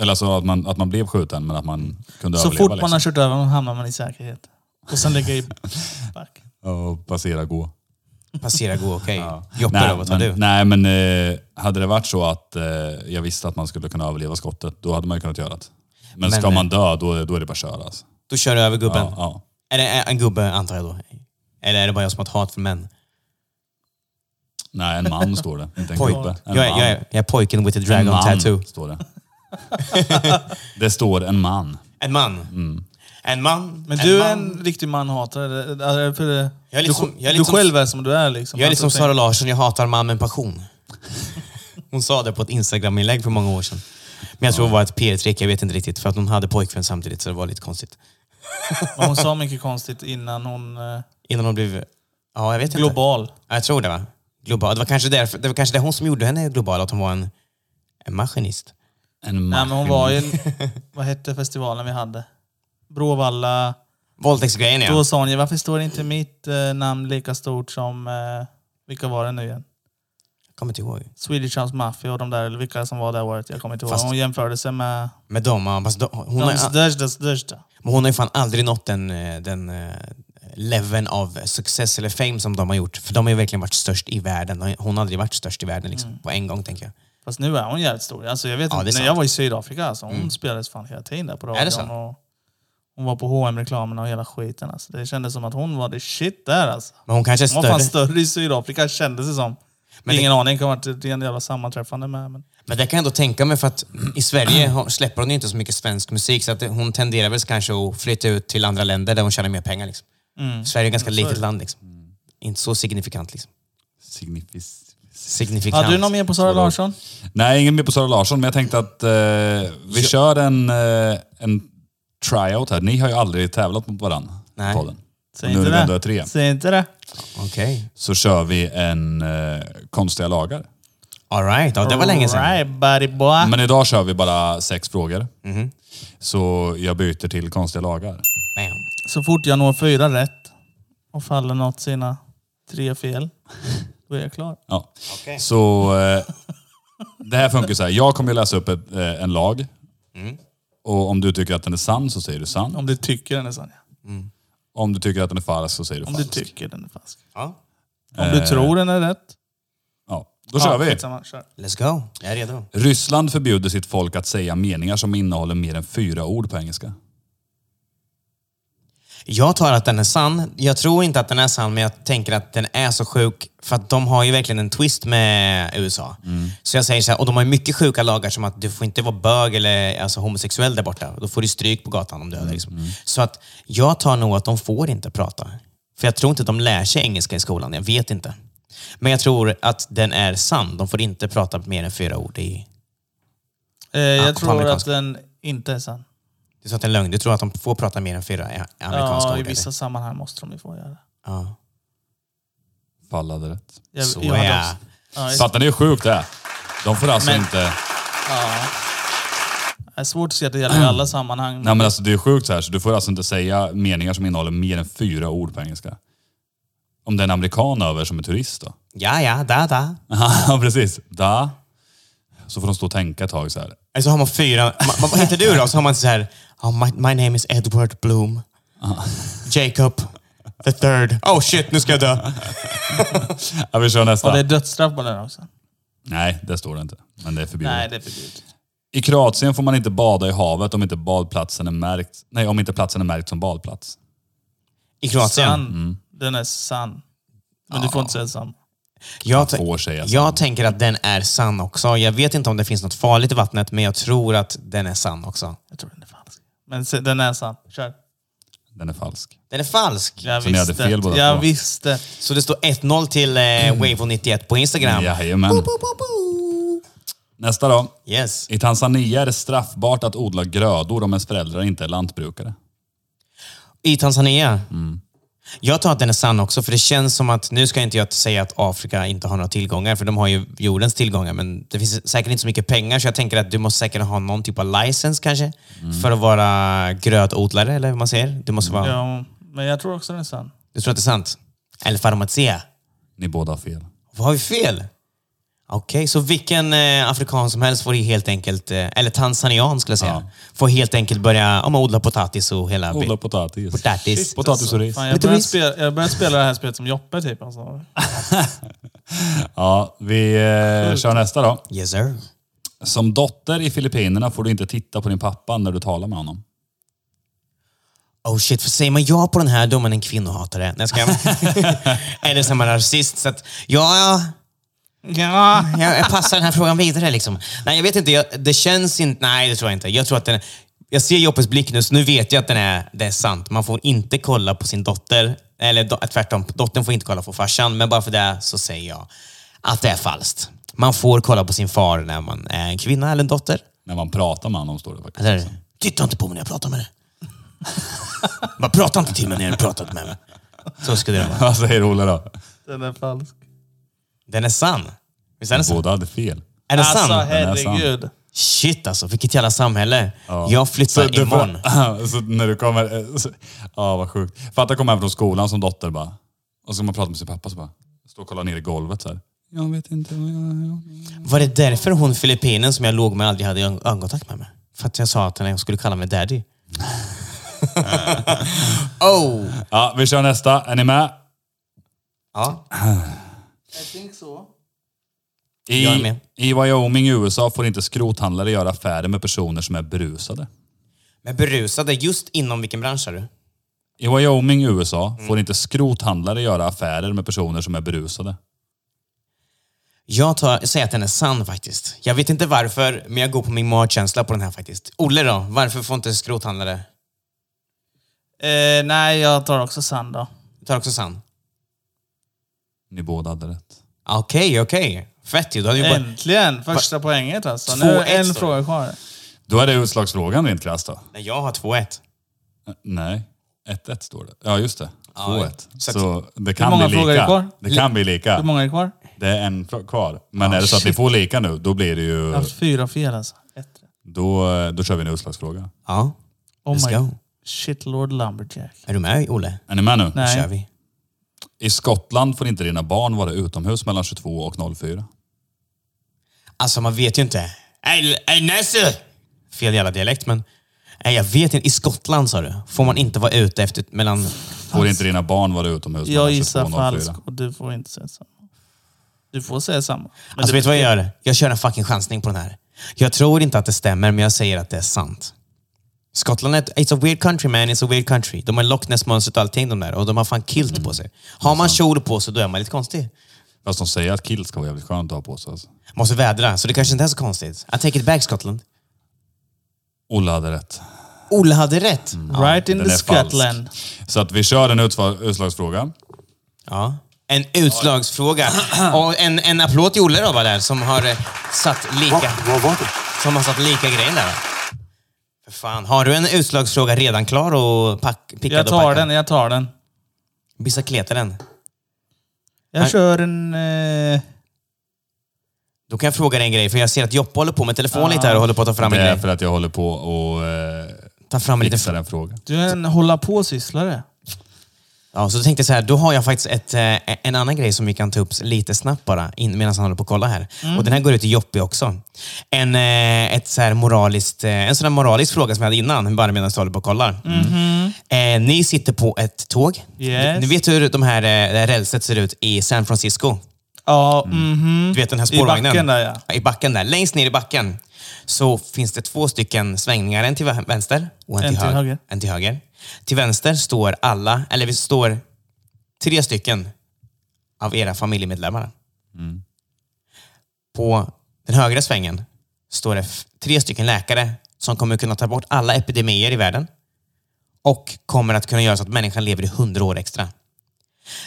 [SPEAKER 5] Eller alltså att man, att man blev skjuten, men att man kunde
[SPEAKER 4] Så
[SPEAKER 5] överleva. liksom.
[SPEAKER 4] fort man har
[SPEAKER 3] liksom.
[SPEAKER 4] kört över honom hamnar man i säkerhet. Och sen lägger jag i back.
[SPEAKER 5] liksom. Och passera, gå.
[SPEAKER 3] Passera, gå, okej. Joppe då, vad tar
[SPEAKER 5] men,
[SPEAKER 3] du?
[SPEAKER 5] nej, men eh, hade det varit så att eh, jag visste att man skulle kunna överleva skottet, då hade man ju kunnat göra det. Men,
[SPEAKER 3] Men-
[SPEAKER 5] ska man dö, då, då är det bara att köra. Alltså.
[SPEAKER 3] Då kör du över gubben.
[SPEAKER 5] Ja, ja.
[SPEAKER 3] Är det en gubbe, antar jag då? Eller är det bara jag som har ett hat för män?
[SPEAKER 5] Nej, en man står det. Inte en
[SPEAKER 3] Poj-
[SPEAKER 5] gubbe. En
[SPEAKER 3] jag, är,
[SPEAKER 5] man.
[SPEAKER 3] jag, är, jag är pojken with a
[SPEAKER 5] En
[SPEAKER 3] dragon
[SPEAKER 5] man,
[SPEAKER 3] tattoo.
[SPEAKER 5] står det. det står en man.
[SPEAKER 3] En man. En man.
[SPEAKER 4] Men du är
[SPEAKER 3] man.
[SPEAKER 4] en riktig manhatare. Eller- eller- för det-
[SPEAKER 3] Jag är
[SPEAKER 4] du-
[SPEAKER 3] lite som- jag är lite
[SPEAKER 4] Du
[SPEAKER 3] som-
[SPEAKER 4] själv är som du är liksom.
[SPEAKER 3] Jag är lite som
[SPEAKER 4] Alltså,
[SPEAKER 3] Sara Larsson, jag hatar man med passion. Hon sa det på ett Instagram-inlägg för många år sedan. Men jag tror det var ett PR-trick, jag vet inte riktigt. För att hon hade pojkvän samtidigt, så det var lite konstigt.
[SPEAKER 4] tänk- Hon sa mycket konstigt innan hon... Eh,
[SPEAKER 3] Innan hon blev... Ja, jag vet inte.
[SPEAKER 4] global.
[SPEAKER 3] Ja, jag tror det va? Global. Det var kanske därför, det var kanske det hon som gjorde henne global, att hon var en, en maskinist.
[SPEAKER 5] En
[SPEAKER 4] Nej
[SPEAKER 5] man.
[SPEAKER 4] men hon var ju... Vad hette festivalen vi hade? Bråvalla...
[SPEAKER 3] Våldtäktsgrejen ja.
[SPEAKER 4] Då sa hon ju, varför står inte mitt eh, namn lika stort som, eh, vilka var det nu igen?
[SPEAKER 3] Kommer inte ihåg.
[SPEAKER 4] Swedish House Mafia och de där, eller vilka som var det året, jag kommer inte ihåg.
[SPEAKER 3] Fast-
[SPEAKER 4] Hon jämförde sig med
[SPEAKER 3] Med dem, ja. Fast de- hon, har,
[SPEAKER 4] de största, största.
[SPEAKER 3] men hon har ju fan aldrig nått den, eh, den eh, leveln av success eller fame som de har gjort. För de har ju verkligen varit störst i världen. Hon har aldrig varit störst i världen liksom,
[SPEAKER 4] Mm.
[SPEAKER 3] på en gång tänker jag.
[SPEAKER 4] Fast nu är hon jävligt stor. Alltså, jag vet
[SPEAKER 3] Ja, det är
[SPEAKER 4] inte, när
[SPEAKER 3] sant. Mm.
[SPEAKER 4] jag var i Sydafrika, alltså, hon spelades fan hela tiden där på radion.
[SPEAKER 3] sant?
[SPEAKER 4] och hon var på hm reklamerna och hela skiten. Alltså. Det kändes som att hon var the shit där alltså.
[SPEAKER 3] Men hon kanske är
[SPEAKER 4] Hon var fan
[SPEAKER 3] större.
[SPEAKER 4] större i Sydafrika kändes det som.
[SPEAKER 3] Men
[SPEAKER 4] Ingen aning, kan ha varit ett rent jävla sammanträffande med. Men...
[SPEAKER 3] Men det kan jag ändå tänka mig för att i Sverige
[SPEAKER 4] Mm.
[SPEAKER 3] har- släpper hon ju inte så mycket svensk musik så att hon tenderar väl kanske att flytta ut till andra länder där hon tjänar mer pengar. Liksom.
[SPEAKER 4] Mm.
[SPEAKER 3] Sverige är ett ganska litet land. Liksom. Inte så signifikant. Liksom.
[SPEAKER 5] Signifis.
[SPEAKER 3] signifikant.
[SPEAKER 4] Hade du någon mer på Sara Larsson?
[SPEAKER 5] Nej, ingen mer på Sara Larsson, men jag tänkte att eh, vi kör en, eh, en tryout här. Ni har ju aldrig tävlat mot varandra
[SPEAKER 3] Nej.
[SPEAKER 5] i podden.
[SPEAKER 4] Säg
[SPEAKER 5] Och nu är vi
[SPEAKER 4] inte
[SPEAKER 5] ändå
[SPEAKER 4] det.
[SPEAKER 5] tre.
[SPEAKER 4] Säg inte det.
[SPEAKER 3] Okej.
[SPEAKER 5] Så kör vi en eh, konstiga lagar.
[SPEAKER 3] All right. Ja, det var länge sedan.
[SPEAKER 4] Right, buddy boy.
[SPEAKER 5] Men idag kör vi bara sex frågor. Så jag byter till konstiga lagar.
[SPEAKER 3] Bam.
[SPEAKER 4] Så fort jag når fyra rätt och faller något sina tre fel, då är jag klar.
[SPEAKER 5] Ja. Så eh, det här funkar så här. Jag kommer ju läsa upp ett, eh, en lag.
[SPEAKER 4] Mm.
[SPEAKER 5] Och om du tycker att den är sann så säger du sann.
[SPEAKER 4] Om du tycker den är sann. ja.
[SPEAKER 5] Om du tycker att den är falsk så säger du
[SPEAKER 4] Om du
[SPEAKER 5] falsk.
[SPEAKER 4] tycker den är falsk.
[SPEAKER 3] Ja.
[SPEAKER 4] Om
[SPEAKER 3] Eh.
[SPEAKER 4] du tror den är rätt.
[SPEAKER 5] ja. Då kör
[SPEAKER 4] ja,
[SPEAKER 5] vi.
[SPEAKER 4] skitsamma, kör.
[SPEAKER 3] Let's go. Jag är redo.
[SPEAKER 5] Ryssland förbjuder sitt folk att säga meningar som innehåller mer än fyra ord på engelska.
[SPEAKER 3] Jag tar att den är sann. Jag tror inte att den är sann, men jag tänker att den är så sjuk. För att de har ju verkligen en twist med USA.
[SPEAKER 4] Mm.
[SPEAKER 3] Så jag säger så här, och de har ju mycket sjuka lagar som att du får inte vara bög eller alltså, homosexuell där borta. Då får du stryk på gatan om du är
[SPEAKER 4] Mm,
[SPEAKER 3] det. Liksom. Så att jag tar nog att de får inte prata. För jag tror inte att de lär sig engelska i skolan. Jag vet inte. Men jag tror att den är sann. De får inte prata mer än fyra ord. I...
[SPEAKER 4] Eh, jag
[SPEAKER 3] Ja, på
[SPEAKER 4] tror att
[SPEAKER 3] amerikanska.
[SPEAKER 4] den inte är sann.
[SPEAKER 3] Du sa att det är en lögn. Du tror att de får prata mer än fyra ä- amerikanska
[SPEAKER 4] Ja,
[SPEAKER 3] ord?
[SPEAKER 4] I
[SPEAKER 3] eller?
[SPEAKER 4] vissa sammanhang måste de ju få göra det.
[SPEAKER 3] Ja.
[SPEAKER 5] Fallade rätt.
[SPEAKER 4] Jag,
[SPEAKER 3] Så
[SPEAKER 4] jag hade
[SPEAKER 3] ja.
[SPEAKER 4] också- ja, just-
[SPEAKER 5] Fattar ni hur sjukt det är? De får alltså
[SPEAKER 4] Men-
[SPEAKER 5] inte...
[SPEAKER 4] det är svårt att se att det gäller i alla sammanhang.
[SPEAKER 5] Nej men alltså det är sjukt så här, så du får alltså inte säga meningar som innehåller mer än fyra ord på engelska. Om det är en amerikan över som är turist då?
[SPEAKER 3] Ja, ja, da, da.
[SPEAKER 5] Ja, precis. Da. Så får de stå och tänka ett tag så här.
[SPEAKER 3] Eller så har man fyra... Man, man, vad heter du då? Så har man så här... Oh, my, my name is Edward Bloom. Jacob the third. Oh shit, nu ska jag dö.
[SPEAKER 5] Ja, vi kör nästa.
[SPEAKER 4] Och det är dödsstraff på den också.
[SPEAKER 5] Mm. Nej, det står det inte. Men det är förbjudet.
[SPEAKER 4] Nej, det är förbjudet.
[SPEAKER 5] I Kroatien får man inte bada i havet om inte badplatsen är märkt... Nej, om inte platsen är märkt som badplats.
[SPEAKER 3] I Kroatien.
[SPEAKER 4] Sann.
[SPEAKER 5] Mm.
[SPEAKER 4] Den är sann. Men du får inte säga sann.
[SPEAKER 3] Jag, t-
[SPEAKER 5] Får säga så.
[SPEAKER 3] jag tänker att den är sann också. Jag vet inte om det finns något farligt i vattnet, men jag tror att den är sann också.
[SPEAKER 4] Jag tror den är falsk. Men se, den är sann. Kör.
[SPEAKER 5] Den är falsk.
[SPEAKER 3] Den är falsk.
[SPEAKER 4] Jag
[SPEAKER 5] Så ni hade
[SPEAKER 4] visste
[SPEAKER 5] fel
[SPEAKER 4] det.
[SPEAKER 5] båda
[SPEAKER 4] Jag
[SPEAKER 5] två.
[SPEAKER 4] visste.
[SPEAKER 3] Så det står 1-0 till eh, Wavo91 på Instagram.
[SPEAKER 5] Jajamän. Nästa då.
[SPEAKER 3] Yes.
[SPEAKER 5] I Tanzania är det straffbart att odla grödor om ens föräldrar inte är lantbrukare.
[SPEAKER 3] I Tanzania?
[SPEAKER 5] Mm.
[SPEAKER 3] Jag tar att den är sann också, för det känns som att, nu ska jag inte jag säga att Afrika inte har några tillgångar, för de har ju jordens tillgångar, men det finns säkert inte så mycket pengar, så jag tänker att du måste säkert ha någon typ av license kanske,
[SPEAKER 5] Mm.
[SPEAKER 3] för att vara grödodlare, eller vad man säger. Du måste vara...
[SPEAKER 4] Ja, men jag tror också den är sann.
[SPEAKER 3] Du tror att det är sant? Eller farmacia?
[SPEAKER 5] Ni båda har fel.
[SPEAKER 3] Vad har vi fel? Okej, så vilken eh, afrikan som helst får ju helt enkelt, eh, eller tanzanian skulle jag säga, får helt enkelt börja ja, men odla potatis och hela...
[SPEAKER 5] Odla potatis.
[SPEAKER 3] Potatis.
[SPEAKER 5] Potatis och ris.
[SPEAKER 4] Fan, jag
[SPEAKER 3] Lite
[SPEAKER 4] börjar
[SPEAKER 3] ris.
[SPEAKER 4] spela, jag börjar spela det här spelet som Joppe typ. Alltså.
[SPEAKER 5] Ja, vi eh, kör nästa då.
[SPEAKER 3] Yes sir.
[SPEAKER 5] Som dotter i Filippinerna får du inte titta på din pappa när du talar med honom.
[SPEAKER 3] Oh shit, för säger man ja på den här då är man en kvinnohatare. Nej, jag skojar. Eller så är man rasist. Så att, ja, ja,
[SPEAKER 4] Ja.
[SPEAKER 3] jag, jag passar den här frågan vidare liksom. Nej, jag vet inte. Jag, det känns inte... Nej, det tror jag inte. Jag tror att den... Jag ser Joppes blick nu, så nu vet jag att den är, det är sant. Man får inte kolla på sin dotter. Eller do, tvärtom, dottern får inte kolla på farsan. Men bara för det så säger jag att det är falskt. Man får kolla på sin far när man är en kvinna eller en dotter.
[SPEAKER 5] När man pratar med honom står det faktiskt.
[SPEAKER 3] Eller, titta inte på mig när jag pratar med dig. Bara prata inte till mig när du pratat med mig. Så skulle det vara.
[SPEAKER 5] Vad säger Olle då?
[SPEAKER 4] Den är falsk.
[SPEAKER 3] Den är sann. Visst är den sann?
[SPEAKER 5] Båda hade fel.
[SPEAKER 3] Är den
[SPEAKER 4] alltså
[SPEAKER 3] sann?
[SPEAKER 5] Den är sann.
[SPEAKER 4] herregud.
[SPEAKER 3] Shit alltså, vilket jävla samhälle. Jag
[SPEAKER 5] Så,
[SPEAKER 3] flyttar
[SPEAKER 5] du
[SPEAKER 3] imorgon.
[SPEAKER 5] får, så när du kommer... eh, så- Ja, vad sjukt. Fatta att komma hem från skolan som dotter bara. Och så ska man prata med sin pappa så bara. Stå och kolla ner i golvet så här. Jag vet inte vad jag... jag-
[SPEAKER 3] Var det därför hon filippinen som jag låg med aldrig hade ögon- ögonkontakt med mig? För att jag sa att hon skulle kalla mig daddy. oh!
[SPEAKER 5] Ja, vi kör nästa. Är ni med?
[SPEAKER 3] Ja.
[SPEAKER 4] I think so.
[SPEAKER 5] I,
[SPEAKER 3] Jag är med.
[SPEAKER 5] I Wyoming i USA får inte skrothandlare göra affärer med personer som är berusade.
[SPEAKER 3] Men berusade, just inom vilken bransch är du?
[SPEAKER 5] I Wyoming i USA
[SPEAKER 3] Mm.
[SPEAKER 5] får inte skrothandlare göra affärer med personer som är berusade.
[SPEAKER 3] Jag tar, säger att den är sann faktiskt. Jag vet inte varför, men jag går på min magkänsla på den här faktiskt. Olle då, varför får inte skrothandlare...
[SPEAKER 4] Eh, nej, jag tar också sand då.
[SPEAKER 3] Du tar också sann?
[SPEAKER 5] Ni båda hade rätt.
[SPEAKER 3] Okej, okej. Fett ju. Då hade vi bara...
[SPEAKER 4] Äntligen! Första poänget alltså. Nu
[SPEAKER 3] 2-1
[SPEAKER 4] är en
[SPEAKER 3] står det.
[SPEAKER 4] fråga kvar.
[SPEAKER 5] Då är det utslagsfrågan rent krasst då.
[SPEAKER 3] Nej, jag har 2-1.
[SPEAKER 5] Eh, Nej. 1-1 står det. Ja, just det. 2-1.
[SPEAKER 3] Så
[SPEAKER 5] så
[SPEAKER 3] att-
[SPEAKER 5] det kan
[SPEAKER 4] Hur många
[SPEAKER 5] bli
[SPEAKER 4] frågor är det
[SPEAKER 5] lika.
[SPEAKER 4] kvar?
[SPEAKER 5] Det kan bli
[SPEAKER 4] Hur
[SPEAKER 5] lika.
[SPEAKER 4] många är kvar?
[SPEAKER 5] Det är en frå- kvar. Men är det så att ni får lika nu, då blir det
[SPEAKER 4] Jag har
[SPEAKER 5] ju...
[SPEAKER 4] haft fyra fel alltså. Ett.
[SPEAKER 5] Då, eh, då kör vi en utslagsfråga.
[SPEAKER 3] Ja.
[SPEAKER 4] Oh
[SPEAKER 3] Let's
[SPEAKER 4] my
[SPEAKER 3] go.
[SPEAKER 4] shit lord lumberjack.
[SPEAKER 3] Är du med Olle?
[SPEAKER 5] Är ni med nu?
[SPEAKER 3] Då
[SPEAKER 4] Nej.
[SPEAKER 3] kör vi.
[SPEAKER 5] I Skottland får inte dina barn vara utomhus mellan 22 och 04.
[SPEAKER 3] Alltså man vet ju inte. Ey, ey, Nesse! Fel jävla dialekt men. Nej, jag vet inte. I Skottland sa du? Får man inte vara ute efter mellan...
[SPEAKER 5] Får inte dina barn vara utomhus
[SPEAKER 4] Jag
[SPEAKER 5] mellan 22
[SPEAKER 4] gissar
[SPEAKER 5] och 04.
[SPEAKER 4] falskt och du får inte säga samma. Du får säga samma. Men
[SPEAKER 3] Alltså
[SPEAKER 4] du,
[SPEAKER 3] vet du vad jag gör? Jag kör en fucking chansning på den här. Jag tror inte att det stämmer men jag säger att det är sant. Skottland är ett, it's a weird country man, it's a weird country. De har Loch Ness-mönstret och allting de där och de har fan kilt
[SPEAKER 4] Mm.
[SPEAKER 3] på sig. Har man kjol på sig då är man lite konstig.
[SPEAKER 5] Fast de säger att kilt ska vara jävligt skönt att ha på sig. Alltså.
[SPEAKER 3] Måste vädra, så det kanske inte är så konstigt. I take it back Skottland.
[SPEAKER 5] Olle hade rätt.
[SPEAKER 3] Olle hade rätt.
[SPEAKER 4] Right in
[SPEAKER 5] Den
[SPEAKER 4] the
[SPEAKER 5] är
[SPEAKER 4] Scotland.
[SPEAKER 5] falsk. Så att vi kör en utsva- utslagsfråga.
[SPEAKER 3] Ja. En utslagsfråga. Och en, en applåd till Olle då, var där, som har eh, satt lika... Som har satt lika grejen där. För fan, har du en utslagsfråga redan klar och pack, pickad och
[SPEAKER 4] Jag tar
[SPEAKER 3] packad?
[SPEAKER 4] den, jag tar den.
[SPEAKER 3] Bicicleta den.
[SPEAKER 4] Jag kör en... Eh,
[SPEAKER 3] Då kan jag fråga dig en grej, för jag ser att Joppa håller på med telefonen lite här och håller på att ta fram
[SPEAKER 5] Det
[SPEAKER 3] en
[SPEAKER 5] är
[SPEAKER 3] grej.
[SPEAKER 5] för att jag håller på och eh,
[SPEAKER 3] Ta fram en liten...
[SPEAKER 5] fixar en fråga.
[SPEAKER 4] du är en hålla på-sysslare.
[SPEAKER 3] Ja, så då tänkte jag så här, då har jag faktiskt ett, eh, en annan grej som vi kan ta upp lite snabbt bara, in, medan han håller på att kolla här.
[SPEAKER 5] Mm.
[SPEAKER 3] Och den här går ut till Joppi också. En, eh, ett så här moraliskt, eh, en sån här moralisk fråga som jag hade innan, bara medan jag håller på och kollar.
[SPEAKER 5] Mm-hmm.
[SPEAKER 3] Eh, ni sitter på ett tåg.
[SPEAKER 4] Yes.
[SPEAKER 3] Ni vet hur de här, eh, det här rälset ser ut i San Francisco?
[SPEAKER 4] Ja, mhm.
[SPEAKER 3] Du vet den här spårvagnen?
[SPEAKER 4] backen där, ja.
[SPEAKER 3] I backen där. Längst ner i backen så finns det två stycken svängningar. En till vä- vänster och en, till, höger. En till höger. Till vänster står alla, eller vi står tre stycken av era familjemedlemmar. På den högra svängen står det f- tre stycken läkare som kommer kunna ta bort alla epidemier i världen och kommer att kunna göra så att människan lever i hundra år extra.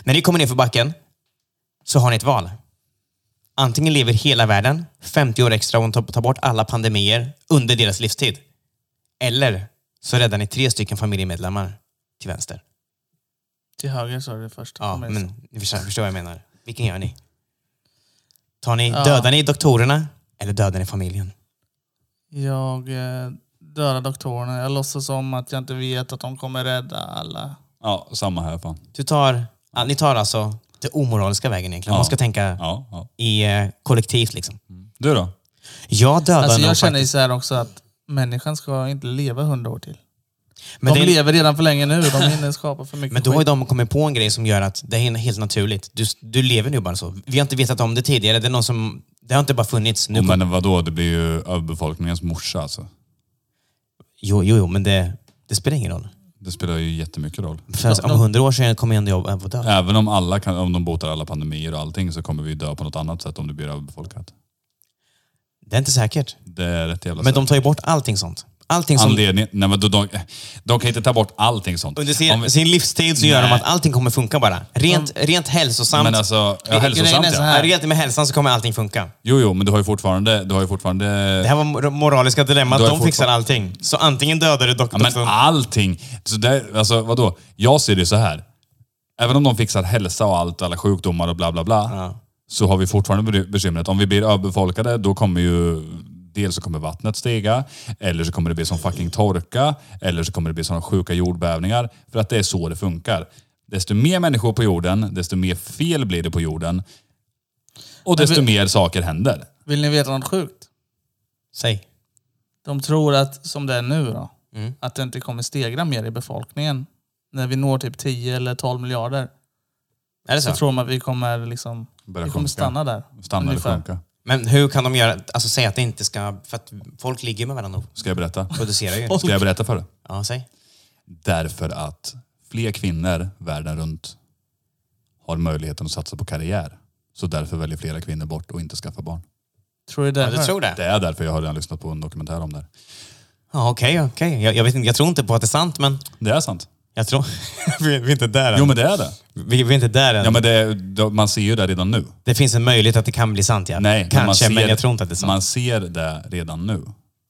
[SPEAKER 3] När ni kommer ner för backen så har ni ett val. Antingen lever hela världen 50 år extra och tar- tar bort alla pandemier under deras livstid. Eller så räddar ni tre stycken familjemedlemmar till vänster.
[SPEAKER 4] Till höger sa du det först.
[SPEAKER 3] Ja,
[SPEAKER 4] Kom igen.
[SPEAKER 3] men ni förstår, förstår vad jag menar. Vilken gör ni? Tar ni, Dödar ni doktorerna eller dödar ni familjen?
[SPEAKER 4] Jag eh, dödar doktorerna. Jag låtsas som att jag inte vet att de kommer rädda alla.
[SPEAKER 5] Ja, samma här fan.
[SPEAKER 3] Du tar, ja, ni tar alltså den omoraliska vägen egentligen. Man ska tänka
[SPEAKER 5] Ja, ja.
[SPEAKER 3] i eh, kollektivt liksom.
[SPEAKER 5] Du då?
[SPEAKER 3] Jag dödar
[SPEAKER 4] Alltså,
[SPEAKER 3] nog
[SPEAKER 4] jag känner ju
[SPEAKER 3] faktiskt-
[SPEAKER 4] så här också att människan ska inte leva hundra år till.
[SPEAKER 3] men
[SPEAKER 4] de
[SPEAKER 3] det är-
[SPEAKER 4] lever redan för länge nu. De hinner skapa för mycket
[SPEAKER 3] Men då har ju
[SPEAKER 4] skit.
[SPEAKER 3] de kommit på en grej som gör att det är helt naturligt. Du, du lever nu bara så. Vi har inte vetat om det tidigare. Det, är någon som, det har inte bara funnits. Nu
[SPEAKER 5] Oh,
[SPEAKER 3] kom,
[SPEAKER 5] men vadå, det blir ju överbefolkningens morsa alltså.
[SPEAKER 3] jo, jo, jo, men det, det spelar ingen roll.
[SPEAKER 5] Det spelar ju jättemycket roll.
[SPEAKER 3] För alltså, om hundra år så kommer jag ändå jag vara död.
[SPEAKER 5] Även om, alla kan, om de botar alla pandemier och allting så kommer vi dö på något annat sätt om det blir överbefolkat.
[SPEAKER 3] Det är inte säkert.
[SPEAKER 5] Det är rätt jävla
[SPEAKER 3] Men de tar ju bort allting sånt. Allting som...
[SPEAKER 5] Anledningen, nej men de, de, de kan inte ta bort allting sånt.
[SPEAKER 3] Under
[SPEAKER 5] Om vi-
[SPEAKER 3] sin, sin livstid så gör de
[SPEAKER 5] Nej.
[SPEAKER 3] att allting kommer funka bara. Rent, rent hälsosamt.
[SPEAKER 5] men alltså, ja, hälsosamt
[SPEAKER 4] är så
[SPEAKER 5] ja.
[SPEAKER 4] här-
[SPEAKER 3] Ja, Rent med hälsan så kommer allting funka.
[SPEAKER 5] Jo, jo, men du har ju fortfarande... Du har ju fortfarande
[SPEAKER 3] Det här var mor- moraliska dilemmat.
[SPEAKER 5] Då är
[SPEAKER 3] De fixar
[SPEAKER 5] fortfar-
[SPEAKER 3] allting. Så antingen dödar du
[SPEAKER 5] Ja,
[SPEAKER 3] doktorn...
[SPEAKER 4] Alltså-
[SPEAKER 5] men allting. Så där, alltså, vadå? Jag ser det så här. Även om de fixar hälsa och allt, alla sjukdomar och bla bla bla. Så har vi fortfarande be- bekymret. Om vi blir överbefolkade, då kommer ju Dels så kommer vattnet stiga, eller så kommer det bli som fucking torka, eller så kommer det bli såna sjuka jordbävningar. För att det är så det funkar. Desto mer människor på jorden, desto mer fel blir det på jorden. Och desto
[SPEAKER 4] vi-
[SPEAKER 5] mer saker händer.
[SPEAKER 4] Vill ni veta något sjukt?
[SPEAKER 3] Säg.
[SPEAKER 4] De tror att, som det är nu då,
[SPEAKER 3] Mm.
[SPEAKER 4] att det inte kommer stegra mer i befolkningen. När vi når typ 10 eller 12 miljarder
[SPEAKER 3] Är det
[SPEAKER 4] så
[SPEAKER 3] så?
[SPEAKER 4] tror man att vi kommer liksom...
[SPEAKER 5] Börja
[SPEAKER 4] vi kommer
[SPEAKER 5] sjunka.
[SPEAKER 4] stanna där.
[SPEAKER 5] Stanna eller
[SPEAKER 4] ungefär.
[SPEAKER 5] sjunka.
[SPEAKER 3] Men hur kan de göra, alltså säga att det inte ska, för att folk ligger med varandra och
[SPEAKER 5] Ska jag berätta?
[SPEAKER 3] producerar ju.
[SPEAKER 5] Ska jag berätta för dig?
[SPEAKER 3] Ja, säg.
[SPEAKER 5] Därför att fler kvinnor världen runt har möjligheten att satsa på karriär. Så därför väljer flera kvinnor bort och inte skaffa barn.
[SPEAKER 4] Tror du det?
[SPEAKER 3] Ja, du tror
[SPEAKER 5] Det
[SPEAKER 3] det?
[SPEAKER 5] är därför jag har redan lyssnat på en dokumentär om det här.
[SPEAKER 3] Ja, okej, okej. Jag, jag, vet inte, jag tror inte på att det är sant, men
[SPEAKER 5] Det är sant.
[SPEAKER 3] jag tror... vi, vi är inte där än.
[SPEAKER 5] Jo men det är det.
[SPEAKER 3] vi, vi är inte där än.
[SPEAKER 5] Ja, men det det- man ser ju det redan nu.
[SPEAKER 3] Det finns en möjlighet att det kan bli sant, ja.
[SPEAKER 5] Nej,
[SPEAKER 3] Kanske,
[SPEAKER 5] man ser,
[SPEAKER 3] men jag tror inte att det är sant.
[SPEAKER 5] Man ser det redan nu.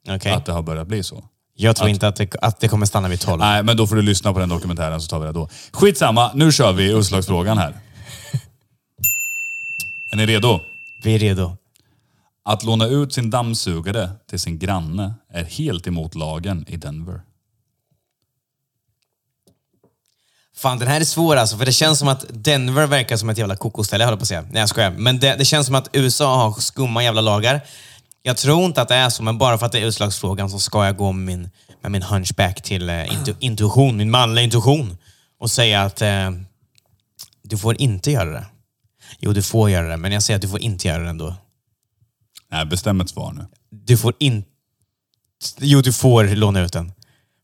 [SPEAKER 3] Okej.
[SPEAKER 5] Att det har börjat bli så.
[SPEAKER 3] Jag tror inte att det, att det kommer stanna vid 12.
[SPEAKER 5] Nej, men då får du lyssna på den dokumentären så tar vi det då. Skitsamma, nu kör vi utslagsfrågan här. Är ni redo?
[SPEAKER 3] Vi är redo.
[SPEAKER 5] Att låna ut sin dammsugare till sin granne är helt emot lagen i Denver.
[SPEAKER 3] Fan, den här är svår alltså, för det känns som att Denver verkar som ett jävla kokoställe, jag höll på att säga. Nej, jag skojar. Men det, det känns som att USA har skumma jävla lagar. Jag tror inte att det är så, men bara för att det är utslagsfrågan så ska jag gå med min, med min hunchback till eh, intu, intuition, min manliga intuition och säga att eh, du får inte göra det. Jo, du får göra det, men jag säger att du får inte göra det ändå.
[SPEAKER 5] Nej, bestäm ett svar nu.
[SPEAKER 3] Du får inte... Jo, du får låna ut den.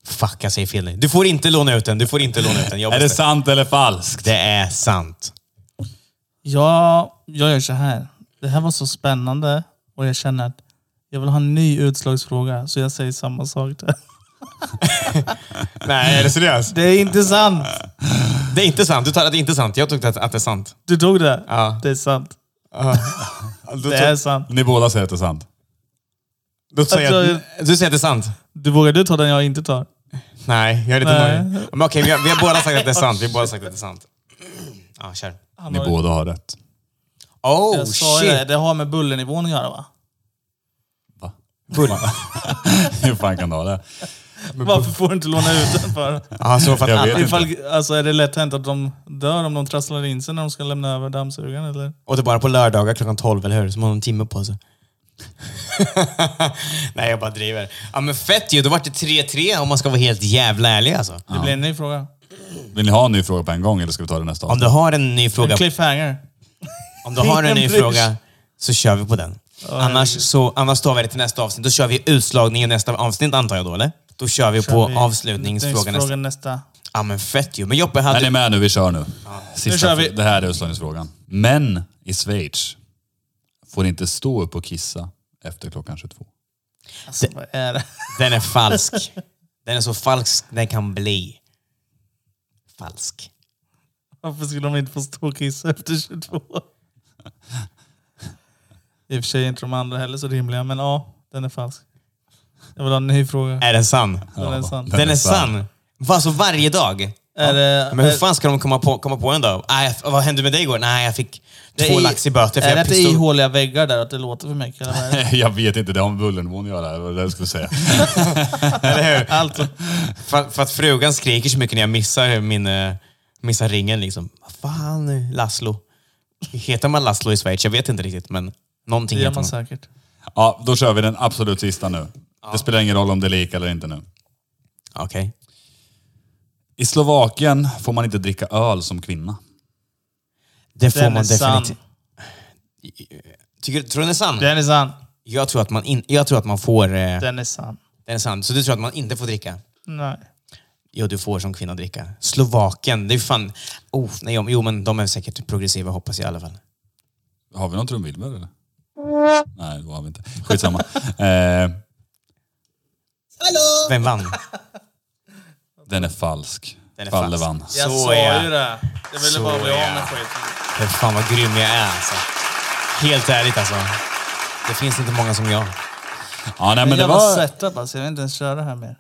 [SPEAKER 3] Fuck, jag säger fel nu. Du får inte låna ut den. Du får inte låna ut den. Jag
[SPEAKER 5] Är det
[SPEAKER 3] bestämmer.
[SPEAKER 5] sant eller falskt?
[SPEAKER 3] det är sant.
[SPEAKER 4] Ja, jag gör så här. Det här var så spännande och jag känner att jag vill ha en ny utslagsfråga så jag säger samma sak där.
[SPEAKER 3] Nej, är det seriöst?
[SPEAKER 4] Det är inte sant!
[SPEAKER 3] Det är inte sant. Du tar att det inte är sant. Jag tyckte att, att det är sant.
[SPEAKER 4] Du tog det?
[SPEAKER 3] Ja.
[SPEAKER 4] Det är sant.
[SPEAKER 3] tog-
[SPEAKER 4] Det är sant.
[SPEAKER 5] Ni båda säger att det är sant.
[SPEAKER 3] Du
[SPEAKER 4] säger-
[SPEAKER 3] du säger att det är sant?
[SPEAKER 4] Du vågar du ta den jag inte tar?
[SPEAKER 3] Nej, jag är lite
[SPEAKER 4] Nej.
[SPEAKER 3] nöjd. Men okej, vi har, vi har båda sagt att det är sant. Vi har båda sagt att det är sant. Ja, kör.
[SPEAKER 4] Han
[SPEAKER 5] Ni
[SPEAKER 4] har-
[SPEAKER 5] båda har rätt.
[SPEAKER 3] Oh
[SPEAKER 4] jag sa ju det,
[SPEAKER 3] shit!
[SPEAKER 4] det har med bullernivån att göra va?
[SPEAKER 5] Va? Hur fan kan du ha det?
[SPEAKER 4] Varför får du inte låna ut den för?
[SPEAKER 3] Ja, så för
[SPEAKER 5] Jag
[SPEAKER 3] att,
[SPEAKER 5] vet inte.
[SPEAKER 4] Ifall, alltså, är det lätt hänt att de dör om de trasslar in sig när de ska lämna över dammsugaren eller?
[SPEAKER 3] och det är bara på lördagar klockan 12, eller hur? Så man har en timme på sig. Nej, jag bara driver. Ja, men fett ju! Då vart det 3-3 om man ska vara helt jävla ärlig alltså.
[SPEAKER 4] Det blir en ny fråga.
[SPEAKER 5] Vill ni ha en ny fråga på en gång eller ska vi ta det nästa
[SPEAKER 3] Om
[SPEAKER 5] avsnitt?
[SPEAKER 3] du har en ny
[SPEAKER 4] En
[SPEAKER 3] fråga
[SPEAKER 4] cliffhanger.
[SPEAKER 3] Om du har en ny
[SPEAKER 4] Ingen bryr
[SPEAKER 3] fråga
[SPEAKER 4] sig.
[SPEAKER 3] så kör vi på den. Annars, så, annars tar vi det till nästa avsnitt. Då kör vi utslagningen i nästa avsnitt antar jag då, eller? Då kör vi på
[SPEAKER 4] vi
[SPEAKER 3] avslutningsfrågan nästa.
[SPEAKER 4] Frågan nästa.
[SPEAKER 3] Ja men fett ju. Men Joppe hade...
[SPEAKER 5] Är ni med nu? Vi kör nu. Sista,
[SPEAKER 4] Nu kör vi.
[SPEAKER 5] Det här är utslagningsfrågan. Män i Schweiz får inte stå upp och kissa efter klockan 22.
[SPEAKER 4] Alltså, vad är det?
[SPEAKER 3] Den är falsk. Den är så falsk den kan bli. Falsk.
[SPEAKER 4] Varför skulle de inte få stå och kissa efter 22? I och för sig är inte de andra heller så rimliga, men ja, den är falsk. Jag vill ha en ny fråga.
[SPEAKER 3] Är den sann?
[SPEAKER 4] Den är sann.
[SPEAKER 3] Den är sann. Va, så varje dag?
[SPEAKER 4] Är det,
[SPEAKER 3] Men hur
[SPEAKER 4] är-
[SPEAKER 3] fan ska de komma på, komma på en då? Nej, vad hände med dig igår? Nej, jag fick
[SPEAKER 4] det är
[SPEAKER 3] två
[SPEAKER 4] i-
[SPEAKER 3] lax i böter för
[SPEAKER 4] Är
[SPEAKER 3] jag
[SPEAKER 4] det att det
[SPEAKER 3] pistol...
[SPEAKER 4] är ihåliga väggar där, att det låter för mycket? Eller vad är det?
[SPEAKER 5] Jag vet inte, det har med bullernivån att göra. Det var det jag skulle säga.
[SPEAKER 4] Alltså,
[SPEAKER 3] För, för att frugan skriker så mycket när jag missar, min, eh, missar ringen. Liksom. Vad fan, Laszlo? Heter man Laszlo i Schweiz? Jag vet inte riktigt, men någonting
[SPEAKER 4] det gör
[SPEAKER 3] heter
[SPEAKER 4] man
[SPEAKER 3] man.
[SPEAKER 4] säkert.
[SPEAKER 5] Ja, då kör vi den absolut sista nu. Det spelar ingen roll om det är lika eller inte nu.
[SPEAKER 3] Okej.
[SPEAKER 5] I Slovakien får man inte dricka öl som kvinna.
[SPEAKER 3] Det får
[SPEAKER 4] Den
[SPEAKER 3] man
[SPEAKER 4] är sann.
[SPEAKER 3] definitivt. Tycker, tror du den är sann?
[SPEAKER 4] Den är sann.
[SPEAKER 3] Jag, tror att man in, jag tror att man får... Eh, den.
[SPEAKER 4] Den är sann.
[SPEAKER 3] är sann. Så du tror att man inte får dricka?
[SPEAKER 4] Nej.
[SPEAKER 3] Jo, du får som kvinna dricka. Slovakien, det är fan... Oh, nej, jo, men de är säkert progressiva hoppas jag i alla fall.
[SPEAKER 5] Har vi någon trumvirvel eller? Nej, det har vi inte. Skitsamma. eh,
[SPEAKER 3] Vem vann?
[SPEAKER 5] den är falsk.
[SPEAKER 3] Den är
[SPEAKER 5] Falle
[SPEAKER 3] falsk.
[SPEAKER 5] vann.
[SPEAKER 4] Jag
[SPEAKER 3] Så
[SPEAKER 4] sa
[SPEAKER 3] ja.
[SPEAKER 4] ju det. Jag ville
[SPEAKER 3] Så
[SPEAKER 4] bara bli
[SPEAKER 3] ja.
[SPEAKER 4] av med skiten.
[SPEAKER 3] Men fan vad grym jag är alltså. Helt ärligt alltså. Det finns inte många som jag.
[SPEAKER 5] Ja, nej, men det
[SPEAKER 4] jag var
[SPEAKER 5] var...
[SPEAKER 4] setup alltså, jag vill inte ens köra här mer.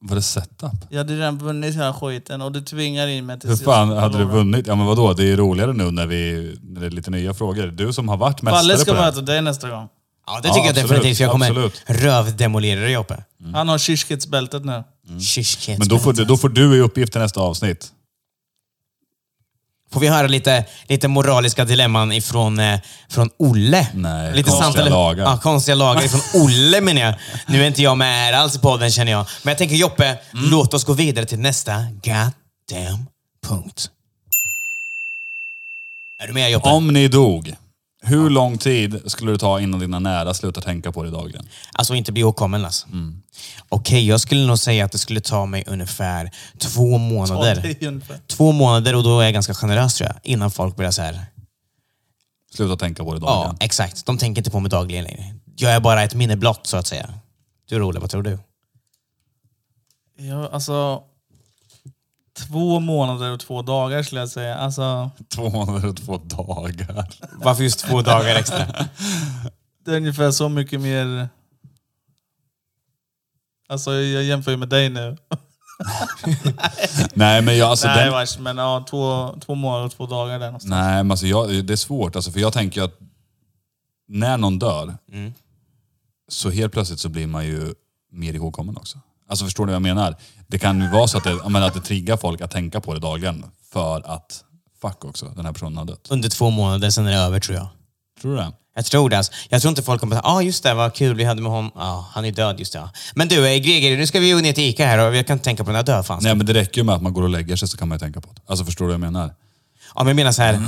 [SPEAKER 5] Var det setup?
[SPEAKER 4] Jag hade redan vunnit hela skiten och du tvingar in mig till
[SPEAKER 5] Hur
[SPEAKER 4] sist.
[SPEAKER 5] fan hade du vunnit? Ja men vadå, det är ju roligare nu när, vi, när det är lite nya frågor. Du som har varit mästare
[SPEAKER 4] Palle ska
[SPEAKER 5] på det. här.
[SPEAKER 4] möta dig nästa gång.
[SPEAKER 3] Ja, det tycker
[SPEAKER 5] Ja,
[SPEAKER 3] jag
[SPEAKER 5] absolut,
[SPEAKER 3] definitivt. för Jag kommer
[SPEAKER 5] absolut.
[SPEAKER 3] rövdemolera dig Joppe.
[SPEAKER 4] Han har kyrketsbältet nu.
[SPEAKER 3] Kyskhet.
[SPEAKER 5] Mm. Men då får, du, då får du i uppgift till nästa avsnitt.
[SPEAKER 3] Får vi höra lite, lite moraliska dilemman ifrån, eh, från Olle?
[SPEAKER 5] Nej,
[SPEAKER 3] lite
[SPEAKER 5] konstiga
[SPEAKER 3] eller-
[SPEAKER 5] lagar.
[SPEAKER 3] Ja, konstiga lagar ifrån Olle menar jag. Nu är inte jag med här alls i podden känner jag. Men jag tänker Joppe,
[SPEAKER 5] Mm.
[SPEAKER 3] låt oss gå vidare till nästa goddamn punkt. Är du med Joppe?
[SPEAKER 5] Om ni dog, hur lång tid skulle det ta innan dina nära slutar tänka på det dagligen?
[SPEAKER 3] Alltså inte bli åkommen alltså.
[SPEAKER 5] Mm.
[SPEAKER 3] Okej, jag skulle nog säga att det skulle ta mig ungefär två månader.
[SPEAKER 4] Ja, det är ju ungefär.
[SPEAKER 3] Två månader och då är jag ganska generös tror jag. Innan folk börjar så här.
[SPEAKER 5] Sluta tänka på det
[SPEAKER 3] Ja,
[SPEAKER 5] dagligen.
[SPEAKER 3] exakt. De tänker inte på mig dagligen längre. Jag är bara ett minne blott, så att säga. Du Rolle, vad tror du?
[SPEAKER 4] Ja, alltså... Två månader och två dagar skulle jag säga. Alltså,
[SPEAKER 5] Två månader och två dagar.
[SPEAKER 3] Varför just två dagar extra?
[SPEAKER 4] det är ungefär så mycket mer... Alltså, jag jämför ju med dig nu.
[SPEAKER 5] Nej, men jag, alltså,
[SPEAKER 4] Nej,
[SPEAKER 5] den,
[SPEAKER 4] vars, men ja, två, två månader och två dagar där någonstans.
[SPEAKER 5] nej, men alltså jag, det är svårt. Alltså, för jag tänker ju att när någon dör så helt plötsligt så blir man ju mer ihågkommen också. Alltså förstår du vad jag menar? Det kan ju vara så att det, jag menar, att det triggar folk att tänka på det dagligen för att fuck också, den här personen har dött.
[SPEAKER 3] Under två månader, sen är det över tror jag.
[SPEAKER 5] Tror du det?
[SPEAKER 3] Jag tror det. Alltså. Jag tror inte folk kommer att säga, ah, just det, vad kul vi hade med honom. ah, han är död, just det. ja." Men du, eh, Greger, nu ska vi ju ner till Ica här och jag kan inte tänka på den här död, fan.
[SPEAKER 5] Nej men det räcker ju med att man går och lägger sig så kan man ju tänka på det. Alltså förstår du vad jag menar?
[SPEAKER 3] Ja, men jag menar så här,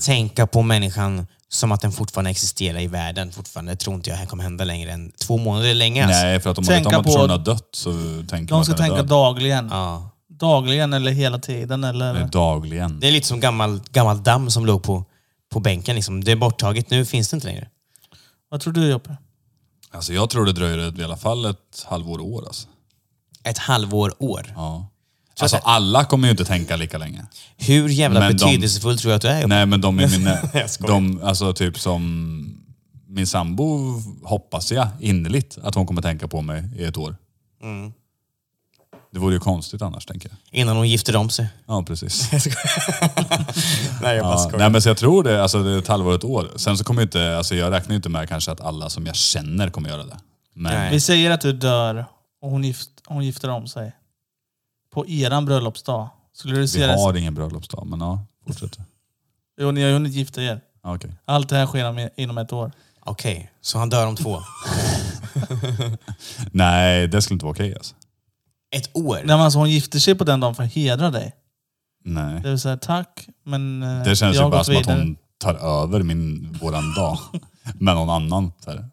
[SPEAKER 3] tänka på människan som att den fortfarande existerar i världen. Fortfarande tror inte jag det här kommer hända längre än två månader. Länge alltså.
[SPEAKER 5] Nej, för att om man vet om
[SPEAKER 4] Tänka
[SPEAKER 5] att
[SPEAKER 4] på-
[SPEAKER 5] personen har dött så tänker man
[SPEAKER 4] De
[SPEAKER 5] att
[SPEAKER 4] ska
[SPEAKER 5] den är
[SPEAKER 4] tänka
[SPEAKER 5] död.
[SPEAKER 4] dagligen.
[SPEAKER 3] Ja.
[SPEAKER 4] Dagligen eller hela tiden. Eller...
[SPEAKER 5] Nej, Dagligen.
[SPEAKER 3] Det är lite som gammal, gammal damm som låg på, på bänken. Liksom. Det är borttaget, nu finns det inte längre.
[SPEAKER 4] Vad tror du Joppe?
[SPEAKER 5] Alltså jag tror det dröjer ett- i alla fall ett halvår, år alltså.
[SPEAKER 3] Ett halvår, år.
[SPEAKER 5] Ja. Alltså alla kommer ju inte tänka lika länge.
[SPEAKER 3] Hur jävla
[SPEAKER 5] Men de-
[SPEAKER 3] betydelsefull tror du att du är?
[SPEAKER 5] Nej men de är mina,
[SPEAKER 3] Jag skojar.
[SPEAKER 5] de, alltså typ som min sambo hoppas jag innerligt att hon kommer tänka på mig i ett år.
[SPEAKER 3] Mm.
[SPEAKER 5] Det vore ju konstigt annars tänker jag.
[SPEAKER 3] Innan hon gifter om sig.
[SPEAKER 5] Ja precis.
[SPEAKER 3] Nej, jag
[SPEAKER 5] Ja, nej, men så jag tror det, alltså, det är ett halvår, ett år. Sen så kommer ju inte, alltså, jag räknar ju inte med kanske att alla som jag känner kommer göra det. Men
[SPEAKER 3] Nej.
[SPEAKER 4] Vi säger att du dör och hon, gift, hon gifter om sig. På eran bröllopsdag. Skulle du
[SPEAKER 5] vi
[SPEAKER 4] se det?
[SPEAKER 5] har ingen bröllopsdag. Men ja, fortsätt.
[SPEAKER 4] Jo, ni har ju hunnit gifta er.
[SPEAKER 5] Ja, okej.
[SPEAKER 4] Allt det här sker om- inom ett år.
[SPEAKER 3] Okej, så han dör om två.
[SPEAKER 5] Nej, det skulle inte vara okej alltså.
[SPEAKER 3] Ett år?
[SPEAKER 4] Nej, men alltså, hon gifter sig på den dagen för att hedra dig.
[SPEAKER 5] Nej.
[SPEAKER 4] Det vill säga tack, men eh,
[SPEAKER 5] Det känns
[SPEAKER 4] jag
[SPEAKER 5] ju
[SPEAKER 4] har
[SPEAKER 5] bara
[SPEAKER 4] gått
[SPEAKER 5] som att
[SPEAKER 4] vidare.
[SPEAKER 5] hon tar över min, våran dag med någon annan. Så här.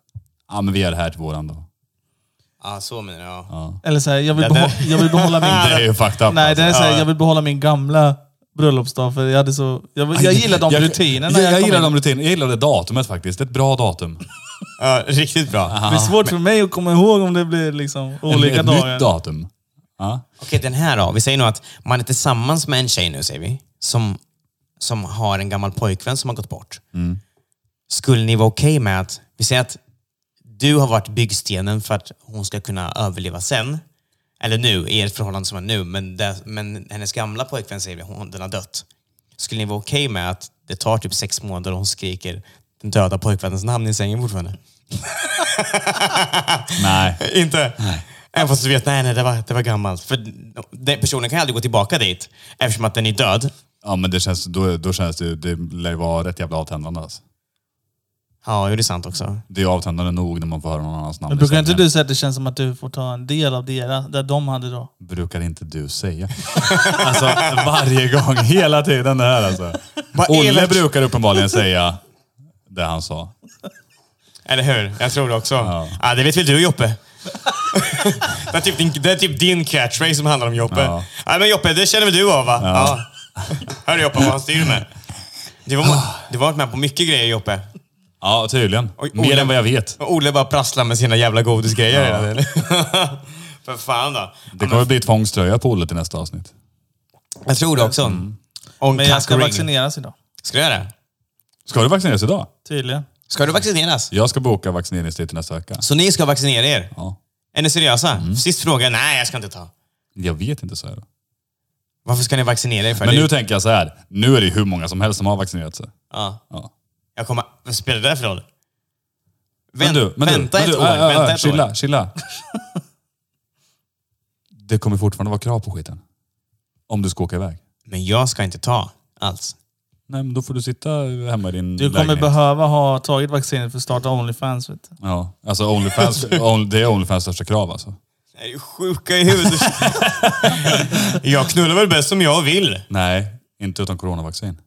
[SPEAKER 5] Ja, men vi gör det här till våran dag.
[SPEAKER 3] Ja, så menar jag. Ja.
[SPEAKER 4] Eller så här, jag, vill
[SPEAKER 3] Ja, det-
[SPEAKER 4] behå- jag vill behålla min...
[SPEAKER 5] Det är ju fucked up.
[SPEAKER 4] Nej, det är
[SPEAKER 5] alltså.
[SPEAKER 4] så här, jag vill behålla min gamla bröllopsdag för jag hade så... Jag, vill- jag gillar de rutinerna.
[SPEAKER 5] Jag, jag,
[SPEAKER 4] kom
[SPEAKER 5] gillar
[SPEAKER 4] in.
[SPEAKER 5] de rutinerna. Jag gillar det datumet faktiskt. Det är ett bra datum.
[SPEAKER 3] riktigt bra.
[SPEAKER 4] Det är svårt för mig att komma ihåg om det blir liksom olika
[SPEAKER 5] ett
[SPEAKER 4] dagar.
[SPEAKER 5] nytt datum. Ja.
[SPEAKER 3] Okej, den här då. Vi säger nog att man är tillsammans med en tjej nu, säger vi. Som, som har en gammal pojkvän som har gått bort. Skulle ni vara okej med att, vi säger att du har varit byggstenen för att hon ska kunna överleva sen. Eller nu, i ert förhållande som är nu. Men, det, men hennes gamla pojkvän säger vi, hon, den har dött. Skulle ni vara okej med att det tar typ sex månader och hon skriker den döda pojkvännens namn i sängen fortfarande?
[SPEAKER 5] Nej.
[SPEAKER 3] Inte? Även fast du vet, nej, nej, det var, det var gammalt. För den personen kan ju aldrig gå tillbaka dit eftersom att den är död.
[SPEAKER 5] Ja, men det känns, då, då känns det, det lär ju vara rätt jävla avtändande alltså.
[SPEAKER 3] Ja, jo, det är sant också.
[SPEAKER 5] Det är avtändande nog när man får höra någon annans namn.
[SPEAKER 4] Men
[SPEAKER 5] i
[SPEAKER 4] brukar inte
[SPEAKER 5] sängen.
[SPEAKER 4] du säga att det känns som att du får ta en del av deras, där de hade då?
[SPEAKER 5] Brukar inte du säga. alltså varje gång, hela tiden det här alltså.
[SPEAKER 3] Vad
[SPEAKER 5] Olle
[SPEAKER 3] elakt.
[SPEAKER 5] brukar uppenbarligen säga det han sa.
[SPEAKER 3] Eller hur? Jag tror det också. Ja. det vet väl du Joppe? det, är typ din, det är typ din catchphrase som handlar om Joppe.
[SPEAKER 5] Ja.
[SPEAKER 3] Ja, men Joppe, det känner väl du av va? Ja. Hör du Joppe vad han styr med? Du var, du har varit med på mycket grejer Joppe.
[SPEAKER 5] Ja, tydligen.
[SPEAKER 3] Oj,
[SPEAKER 5] Mer
[SPEAKER 3] Olle-
[SPEAKER 5] än vad jag vet.
[SPEAKER 3] Och Olle bara prasslar med sina jävla godisgrejer hela tiden. För fan då.
[SPEAKER 5] Det kommer bli tvångströja på Olle till nästa avsnitt.
[SPEAKER 3] Jag tror det också. Och en
[SPEAKER 4] Men jag ska
[SPEAKER 3] kackring.
[SPEAKER 4] vaccineras idag.
[SPEAKER 3] Ska du göra det?
[SPEAKER 5] Ska du vaccineras idag?
[SPEAKER 4] Tydligen.
[SPEAKER 3] Ska du vaccineras?
[SPEAKER 5] Jag ska boka vaccineringstid till nästa vecka.
[SPEAKER 3] Så ni ska vaccinera er?
[SPEAKER 5] Ja. Mm.
[SPEAKER 3] Är ni seriösa? Sist fråga. Nej, jag ska inte ta.
[SPEAKER 5] Jag vet inte, så jag. då.
[SPEAKER 3] Varför ska ni vaccinera er för?
[SPEAKER 5] Men
[SPEAKER 3] Det-
[SPEAKER 5] nu tänker jag så här. Nu är det ju hur många som helst som har vaccinerat sig.
[SPEAKER 3] Ja.
[SPEAKER 5] Ja.
[SPEAKER 3] Jag kommer... Vad spelar det där för roll? Vänt- vänta ett år.
[SPEAKER 5] äh, äh,
[SPEAKER 3] vänta
[SPEAKER 5] äh,
[SPEAKER 3] ett år.
[SPEAKER 5] chilla, chilla. det kommer fortfarande vara krav på skiten. Om du ska åka iväg.
[SPEAKER 3] Men jag ska inte ta alls.
[SPEAKER 5] Nej, men då får du sitta hemma i din
[SPEAKER 4] Du kommer
[SPEAKER 5] lägenhet.
[SPEAKER 4] behöva ha tagit vaccinet för att starta Onlyfans. Vet du.
[SPEAKER 5] Ja, alltså Onlyfans, on, det är Onlyfans största krav alltså.
[SPEAKER 3] Är du sjuka i huvudet? jag knullar väl bäst som jag vill.
[SPEAKER 5] Nej, inte utan coronavaccin.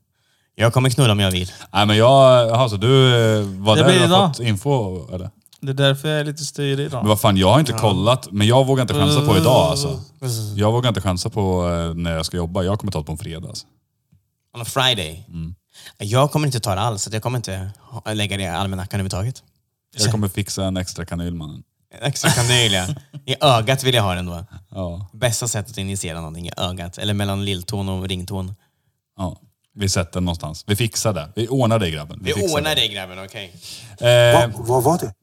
[SPEAKER 3] Jag kommer knulla om jag vill.
[SPEAKER 5] Nej, men jag... Alltså, du eh, var
[SPEAKER 4] Det
[SPEAKER 5] där
[SPEAKER 4] blir
[SPEAKER 5] och har
[SPEAKER 4] idag.
[SPEAKER 5] fått info, eller?
[SPEAKER 4] Det är därför jag är lite styrig
[SPEAKER 5] Men
[SPEAKER 4] idag.
[SPEAKER 5] vad fan, jag har inte kollat. Men jag vågar inte chansa på idag alltså. Jag vågar inte chansa på eh, när jag ska jobba. Jag kommer ta det på en fredag. Alltså.
[SPEAKER 3] On a Friday.
[SPEAKER 5] Mm.
[SPEAKER 3] Jag kommer inte ta det alls. så Jag kommer inte ha- lägga det i almanackan överhuvudtaget.
[SPEAKER 5] Jag kommer fixa en extra kanyl mannen.
[SPEAKER 3] En Extra kanyl, ja. I ögat vill jag ha den då.
[SPEAKER 5] Ja.
[SPEAKER 3] Bästa sättet att injicera någonting i ögat. Eller mellan lilltån och ringtån.
[SPEAKER 5] ja. Vi sätter den någonstans. Vi fixar det. Vi ordnar det grabben.
[SPEAKER 3] Vi
[SPEAKER 5] fixar
[SPEAKER 3] ordnar det grabben, okej?
[SPEAKER 5] Eh,
[SPEAKER 2] Vad var det?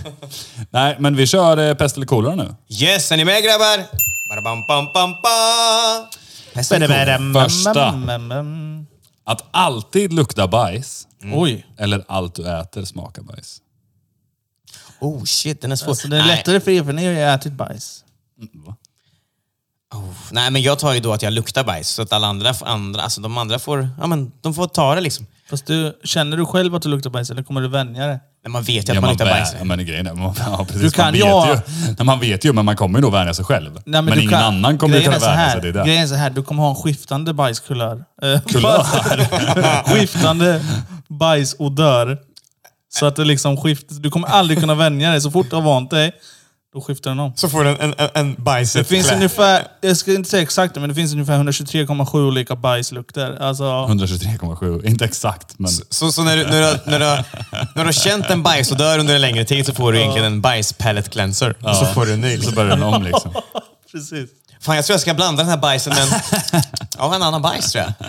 [SPEAKER 5] nej, men vi kör eh, pest eller kolera nu.
[SPEAKER 3] Yes, är ni med grabbar? Barabam, bam, bam, ba. Pest eller kolera?
[SPEAKER 5] Första.
[SPEAKER 4] Mm, mm, mm.
[SPEAKER 5] Att alltid lukta bajs
[SPEAKER 4] Oj.
[SPEAKER 5] eller allt du äter smakar bajs.
[SPEAKER 3] Oh shit, den är svår.
[SPEAKER 4] Alltså, det är lättare för er, för ni har ju ätit bajs.
[SPEAKER 3] Nej, oh, nej, men jag tar ju då att jag luktar bajs. Så att alla andra, andra alltså de andra får, ja men de får ta det liksom.
[SPEAKER 4] Fast du, känner du själv att du luktar bajs eller kommer du vänja dig?
[SPEAKER 3] Men man vet ju att man luktar
[SPEAKER 5] bär-
[SPEAKER 3] bajs.
[SPEAKER 5] Ja, men grejen är, man, ja, precis,
[SPEAKER 4] Du kan
[SPEAKER 5] man vet
[SPEAKER 4] ju-
[SPEAKER 5] ju. Nej, man vet ju, men man kommer ju nog värna sig själv.
[SPEAKER 4] Nej,
[SPEAKER 5] men
[SPEAKER 4] du
[SPEAKER 5] ingen
[SPEAKER 4] kan-
[SPEAKER 5] annan kommer ju
[SPEAKER 4] grejen
[SPEAKER 5] kunna
[SPEAKER 4] är så
[SPEAKER 5] värna
[SPEAKER 4] här-
[SPEAKER 5] sig. Det är det.
[SPEAKER 4] Grejen är så här, du kommer ha en skiftande bajskulör. Eh,
[SPEAKER 5] Kulör?
[SPEAKER 4] skiftande bajsodör. Så att det liksom skift, du kommer aldrig kunna vänja dig. Så fort du har vant dig, då skiftar den om.
[SPEAKER 3] Så får den en, en, en bajset
[SPEAKER 4] Det finns ungefär, jag ska inte säga exakt, men det finns ungefär 123,7 olika bajslukter. Alltså,
[SPEAKER 5] 123,7. Inte exakt, men...
[SPEAKER 3] Så, så när, du, när, du, har- när, du, har- när du har känt en bajsodör under en längre tid så får du egentligen en bajspellet cleanser. Och så får du en ny.
[SPEAKER 5] Så börjar den om liksom.
[SPEAKER 4] precis.
[SPEAKER 3] Fan, jag tror jag ska blanda den här bajsen med en, ja, en annan bajs tror jag.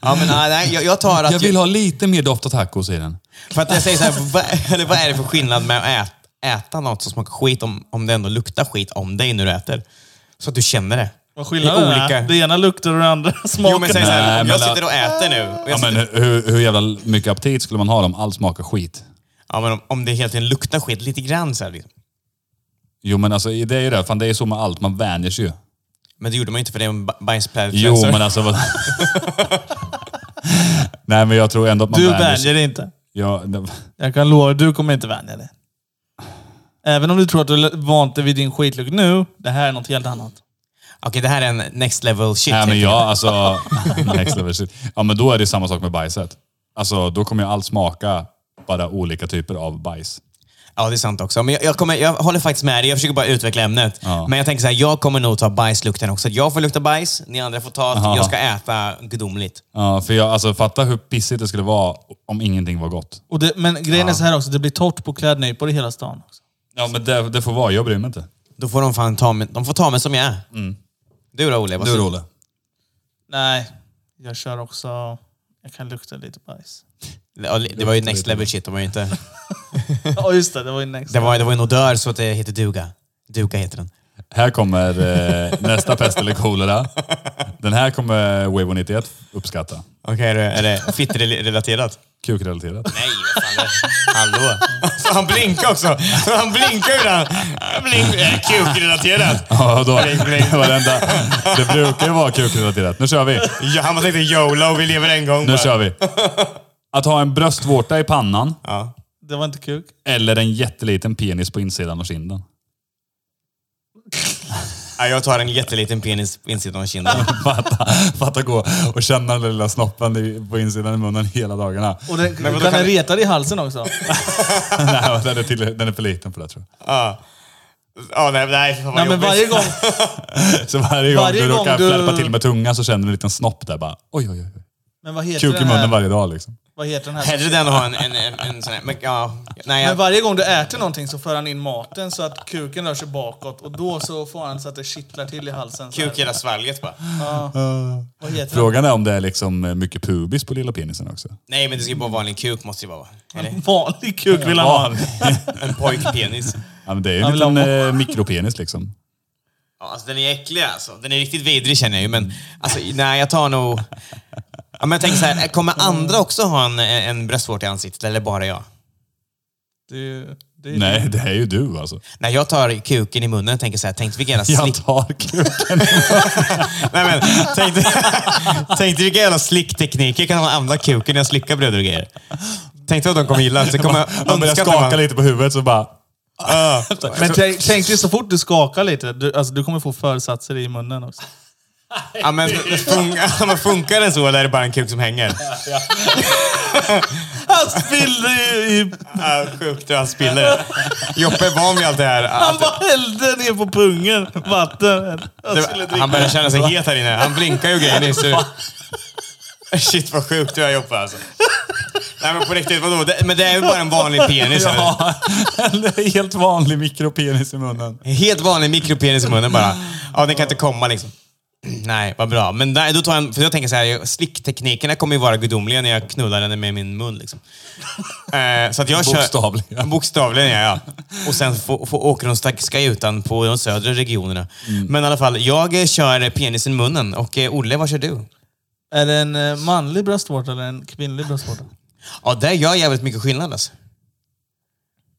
[SPEAKER 3] Ja, men nej, nej, jag, jag tar att...
[SPEAKER 5] Jag vill ha lite mer doft av tacos i den.
[SPEAKER 3] För att jag säger så här, vad, eller vad är det för skillnad med att äta, äta något som smakar skit om, om det ändå luktar skit om dig när du äter? Så att du känner det.
[SPEAKER 4] Vad skillnaden
[SPEAKER 3] Det är
[SPEAKER 4] är?
[SPEAKER 3] olika.
[SPEAKER 4] Det ena luktar och det andra smakar.
[SPEAKER 3] Jo, men säg så här,
[SPEAKER 5] Nej,
[SPEAKER 3] om jag
[SPEAKER 5] men-
[SPEAKER 3] sitter och äter nu. Och jag
[SPEAKER 5] Ja, men
[SPEAKER 3] sitter,
[SPEAKER 5] hur, hur jävla mycket aptit skulle man ha om allt smakar skit?
[SPEAKER 3] ja, men om, om det helt enkelt luktar skit lite grann så här, liksom.
[SPEAKER 5] Jo men alltså det är ju det, fan det är så med allt, man vänjer sig ju.
[SPEAKER 3] Men det gjorde man ju inte för det är en ba- bajspellet
[SPEAKER 5] Jo
[SPEAKER 3] cleanser.
[SPEAKER 5] men alltså vad... Nej men jag tror ändå att man
[SPEAKER 4] du
[SPEAKER 5] vänjer
[SPEAKER 4] vänjer
[SPEAKER 5] sig.
[SPEAKER 4] dig inte.
[SPEAKER 5] Ja,
[SPEAKER 4] Jag kan lova, du kommer inte vänja dig. Även om du tror att du vant dig vid din skitlukt nu, det här är något helt annat.
[SPEAKER 3] Okej, det här är en next level shit.
[SPEAKER 5] Nej men
[SPEAKER 3] tänker
[SPEAKER 5] jag alltså... Next level shit. Ja men då är det samma sak med bajset. Alltså då kommer ju allt smaka bara olika typer av bajs.
[SPEAKER 3] Ja, det är sant också. Men jag, jag, kommer, jag håller faktiskt med dig. Jag försöker bara utveckla ämnet. Men jag tänker så här, jag kommer nog ta bajslukten också. Jag får lukta bajs, ni andra får ta att
[SPEAKER 5] Aha.
[SPEAKER 3] jag ska äta gudomligt.
[SPEAKER 5] Ja, för jag, alltså fatta hur pissigt det skulle vara om ingenting var gott.
[SPEAKER 4] Och det, men grejen är så här också, det blir torrt på klädnypor i hela stan. Också.
[SPEAKER 5] Ja men det, det får vara, jag bryr mig inte.
[SPEAKER 3] Då får de fan ta mig, de får ta mig som jag är. Mm. Du då Olle? Vad
[SPEAKER 5] Du
[SPEAKER 3] säger
[SPEAKER 5] Rolle?
[SPEAKER 4] Nej, jag kör också... Jag kan lukta lite bajs.
[SPEAKER 3] Ja, Det var ju next level shit. De var ju inte,
[SPEAKER 4] Ja, just det. Det var ju next.
[SPEAKER 3] det, var, det var ju en odör så att det heter duga. Duga heter den.
[SPEAKER 5] Här kommer eh, nästa pest eller kolera. Den här kommer Wavo 91 uppskatta.
[SPEAKER 3] Okej, är det, är det fittrelaterat?
[SPEAKER 5] Kukrelaterat.
[SPEAKER 3] Nej, vad fan det, hallå. Så han blinkar också. Så han blinkar ju den. Blink, eh, Kukrelaterat.
[SPEAKER 5] Ja, då,
[SPEAKER 3] Blink, blink.
[SPEAKER 5] varenda, det brukar ju vara kukrelaterat. Nu kör vi.
[SPEAKER 3] Ja, han tänkte YOLO, vi lever en gång.
[SPEAKER 5] Nu
[SPEAKER 3] bara.
[SPEAKER 5] kör vi. Att ha en bröstvårta i pannan
[SPEAKER 4] Det var inte kuk.
[SPEAKER 5] eller en jätteliten penis på insidan av kinden.
[SPEAKER 3] Ja, jag tar en jätteliten penis på insidan av kinden.
[SPEAKER 5] Fatta, fatta gå och känna den lilla snoppen i- på insidan i munnen hela dagarna.
[SPEAKER 4] Och den,
[SPEAKER 3] vadå,
[SPEAKER 4] kan
[SPEAKER 3] kan
[SPEAKER 4] den
[SPEAKER 3] vi-
[SPEAKER 4] reta dig i halsen också?
[SPEAKER 5] Nej, den, är till, den är för liten för det tror jag.
[SPEAKER 3] Ja, nej, nej, fan vad
[SPEAKER 4] Nej, men
[SPEAKER 3] jobbigt.
[SPEAKER 4] varje gång...
[SPEAKER 5] Så varje gång
[SPEAKER 4] Varje
[SPEAKER 5] du
[SPEAKER 4] gång
[SPEAKER 5] råkar
[SPEAKER 4] du-
[SPEAKER 5] flärpa till med tungan så känner du en liten snopp där bara. Oj, oj, oj.
[SPEAKER 4] Men vad heter
[SPEAKER 5] Kuk i
[SPEAKER 4] den här?
[SPEAKER 5] munnen varje dag liksom.
[SPEAKER 4] Vad heter den här?
[SPEAKER 3] Hellre den än att ha en, en, en, en sån här... Men, ja, nej,
[SPEAKER 4] Men
[SPEAKER 3] jag,
[SPEAKER 4] varje gång du äter någonting så för han in maten så att kuken rör sig bakåt och då så får han så att det kittlar till i halsen. så här.
[SPEAKER 3] kuk i hela svalget bara.
[SPEAKER 4] Vad heter den?
[SPEAKER 5] Frågan är om det är liksom mycket pubis på lilla penisen också.
[SPEAKER 3] Nej, men det ska ju bara vara en kuk måste det bara vara. Eller?
[SPEAKER 4] Vanlig kuk vill han ha.
[SPEAKER 3] En pojkpenis.
[SPEAKER 5] Ja, men det är ju
[SPEAKER 4] Han
[SPEAKER 5] en
[SPEAKER 4] vill ha
[SPEAKER 5] liten
[SPEAKER 4] mo-
[SPEAKER 5] eh, mikropenis liksom.
[SPEAKER 3] Ja, alltså, den är äcklig alltså. Den är riktigt vidrig känner jag ju, men alltså, nej, jag tar nog... Ja, men jag tänker så här, kommer andra också ha en, en bröstvårta i ansiktet eller bara jag?
[SPEAKER 4] Det är ju... Det är
[SPEAKER 5] Nej, det är ju du alltså.
[SPEAKER 3] När jag tar kuken i munnen och tänker så här, tänkte vilken jävla
[SPEAKER 5] Jag
[SPEAKER 3] slick...
[SPEAKER 5] tar kuken.
[SPEAKER 3] Nej, men, tänkte, tänkte vilka jävla slicktekniker kan man använda kuken när jag slickar bröder och grejer. Tänkte att de kommer gilla. Så kommer jag
[SPEAKER 5] Man börjar
[SPEAKER 3] önska att de-
[SPEAKER 5] skaka lite på huvudet så bara...
[SPEAKER 3] Ja.
[SPEAKER 4] Men tänk, tänk dig så fort du skakar lite, du, alltså, du kommer få försatser i munnen också.
[SPEAKER 3] Ja, men, funkar, men funkar den så eller är det bara en kuk som hänger?
[SPEAKER 4] Han spillde ju i...
[SPEAKER 3] Ja, sjukt hur han spiller. Joppe är van vid allt det här.
[SPEAKER 4] Han
[SPEAKER 3] Att,
[SPEAKER 4] bara hällde ner på pungen vatten. Jag skulle
[SPEAKER 3] det,
[SPEAKER 4] dricka.
[SPEAKER 3] han börjar känna sig het här inne. Han blinkar ju och grejer nyss. Shit vad sjukt du är Joppe alltså. Nej men på riktigt, vadå? Det, men det är ju bara en vanlig penis. eller?
[SPEAKER 5] Ja, en helt vanlig mikropenis i munnen.
[SPEAKER 3] En Helt vanlig mikropenis i munnen bara. Ja, den kan inte komma liksom. Nej, vad bra. Men nej, då tar jag, en- för jag tänker så här, slickteknikerna kommer ju vara gudomliga när jag knullar henne med min mun. Liksom. Eh, så att jag kör-
[SPEAKER 5] Bokstavligen.
[SPEAKER 3] Bokstavligen, ja. ja. Och sen få, få, åker de stackska utan på de södra regionerna. Men i alla fall, jag eh, kör penisen i munnen. Och eh, Olle, vad kör du?
[SPEAKER 4] Är det en eh, manlig bröstvårta eller en kvinnlig bröstvårta?
[SPEAKER 3] Ja, där gör jävligt mycket skillnad alltså.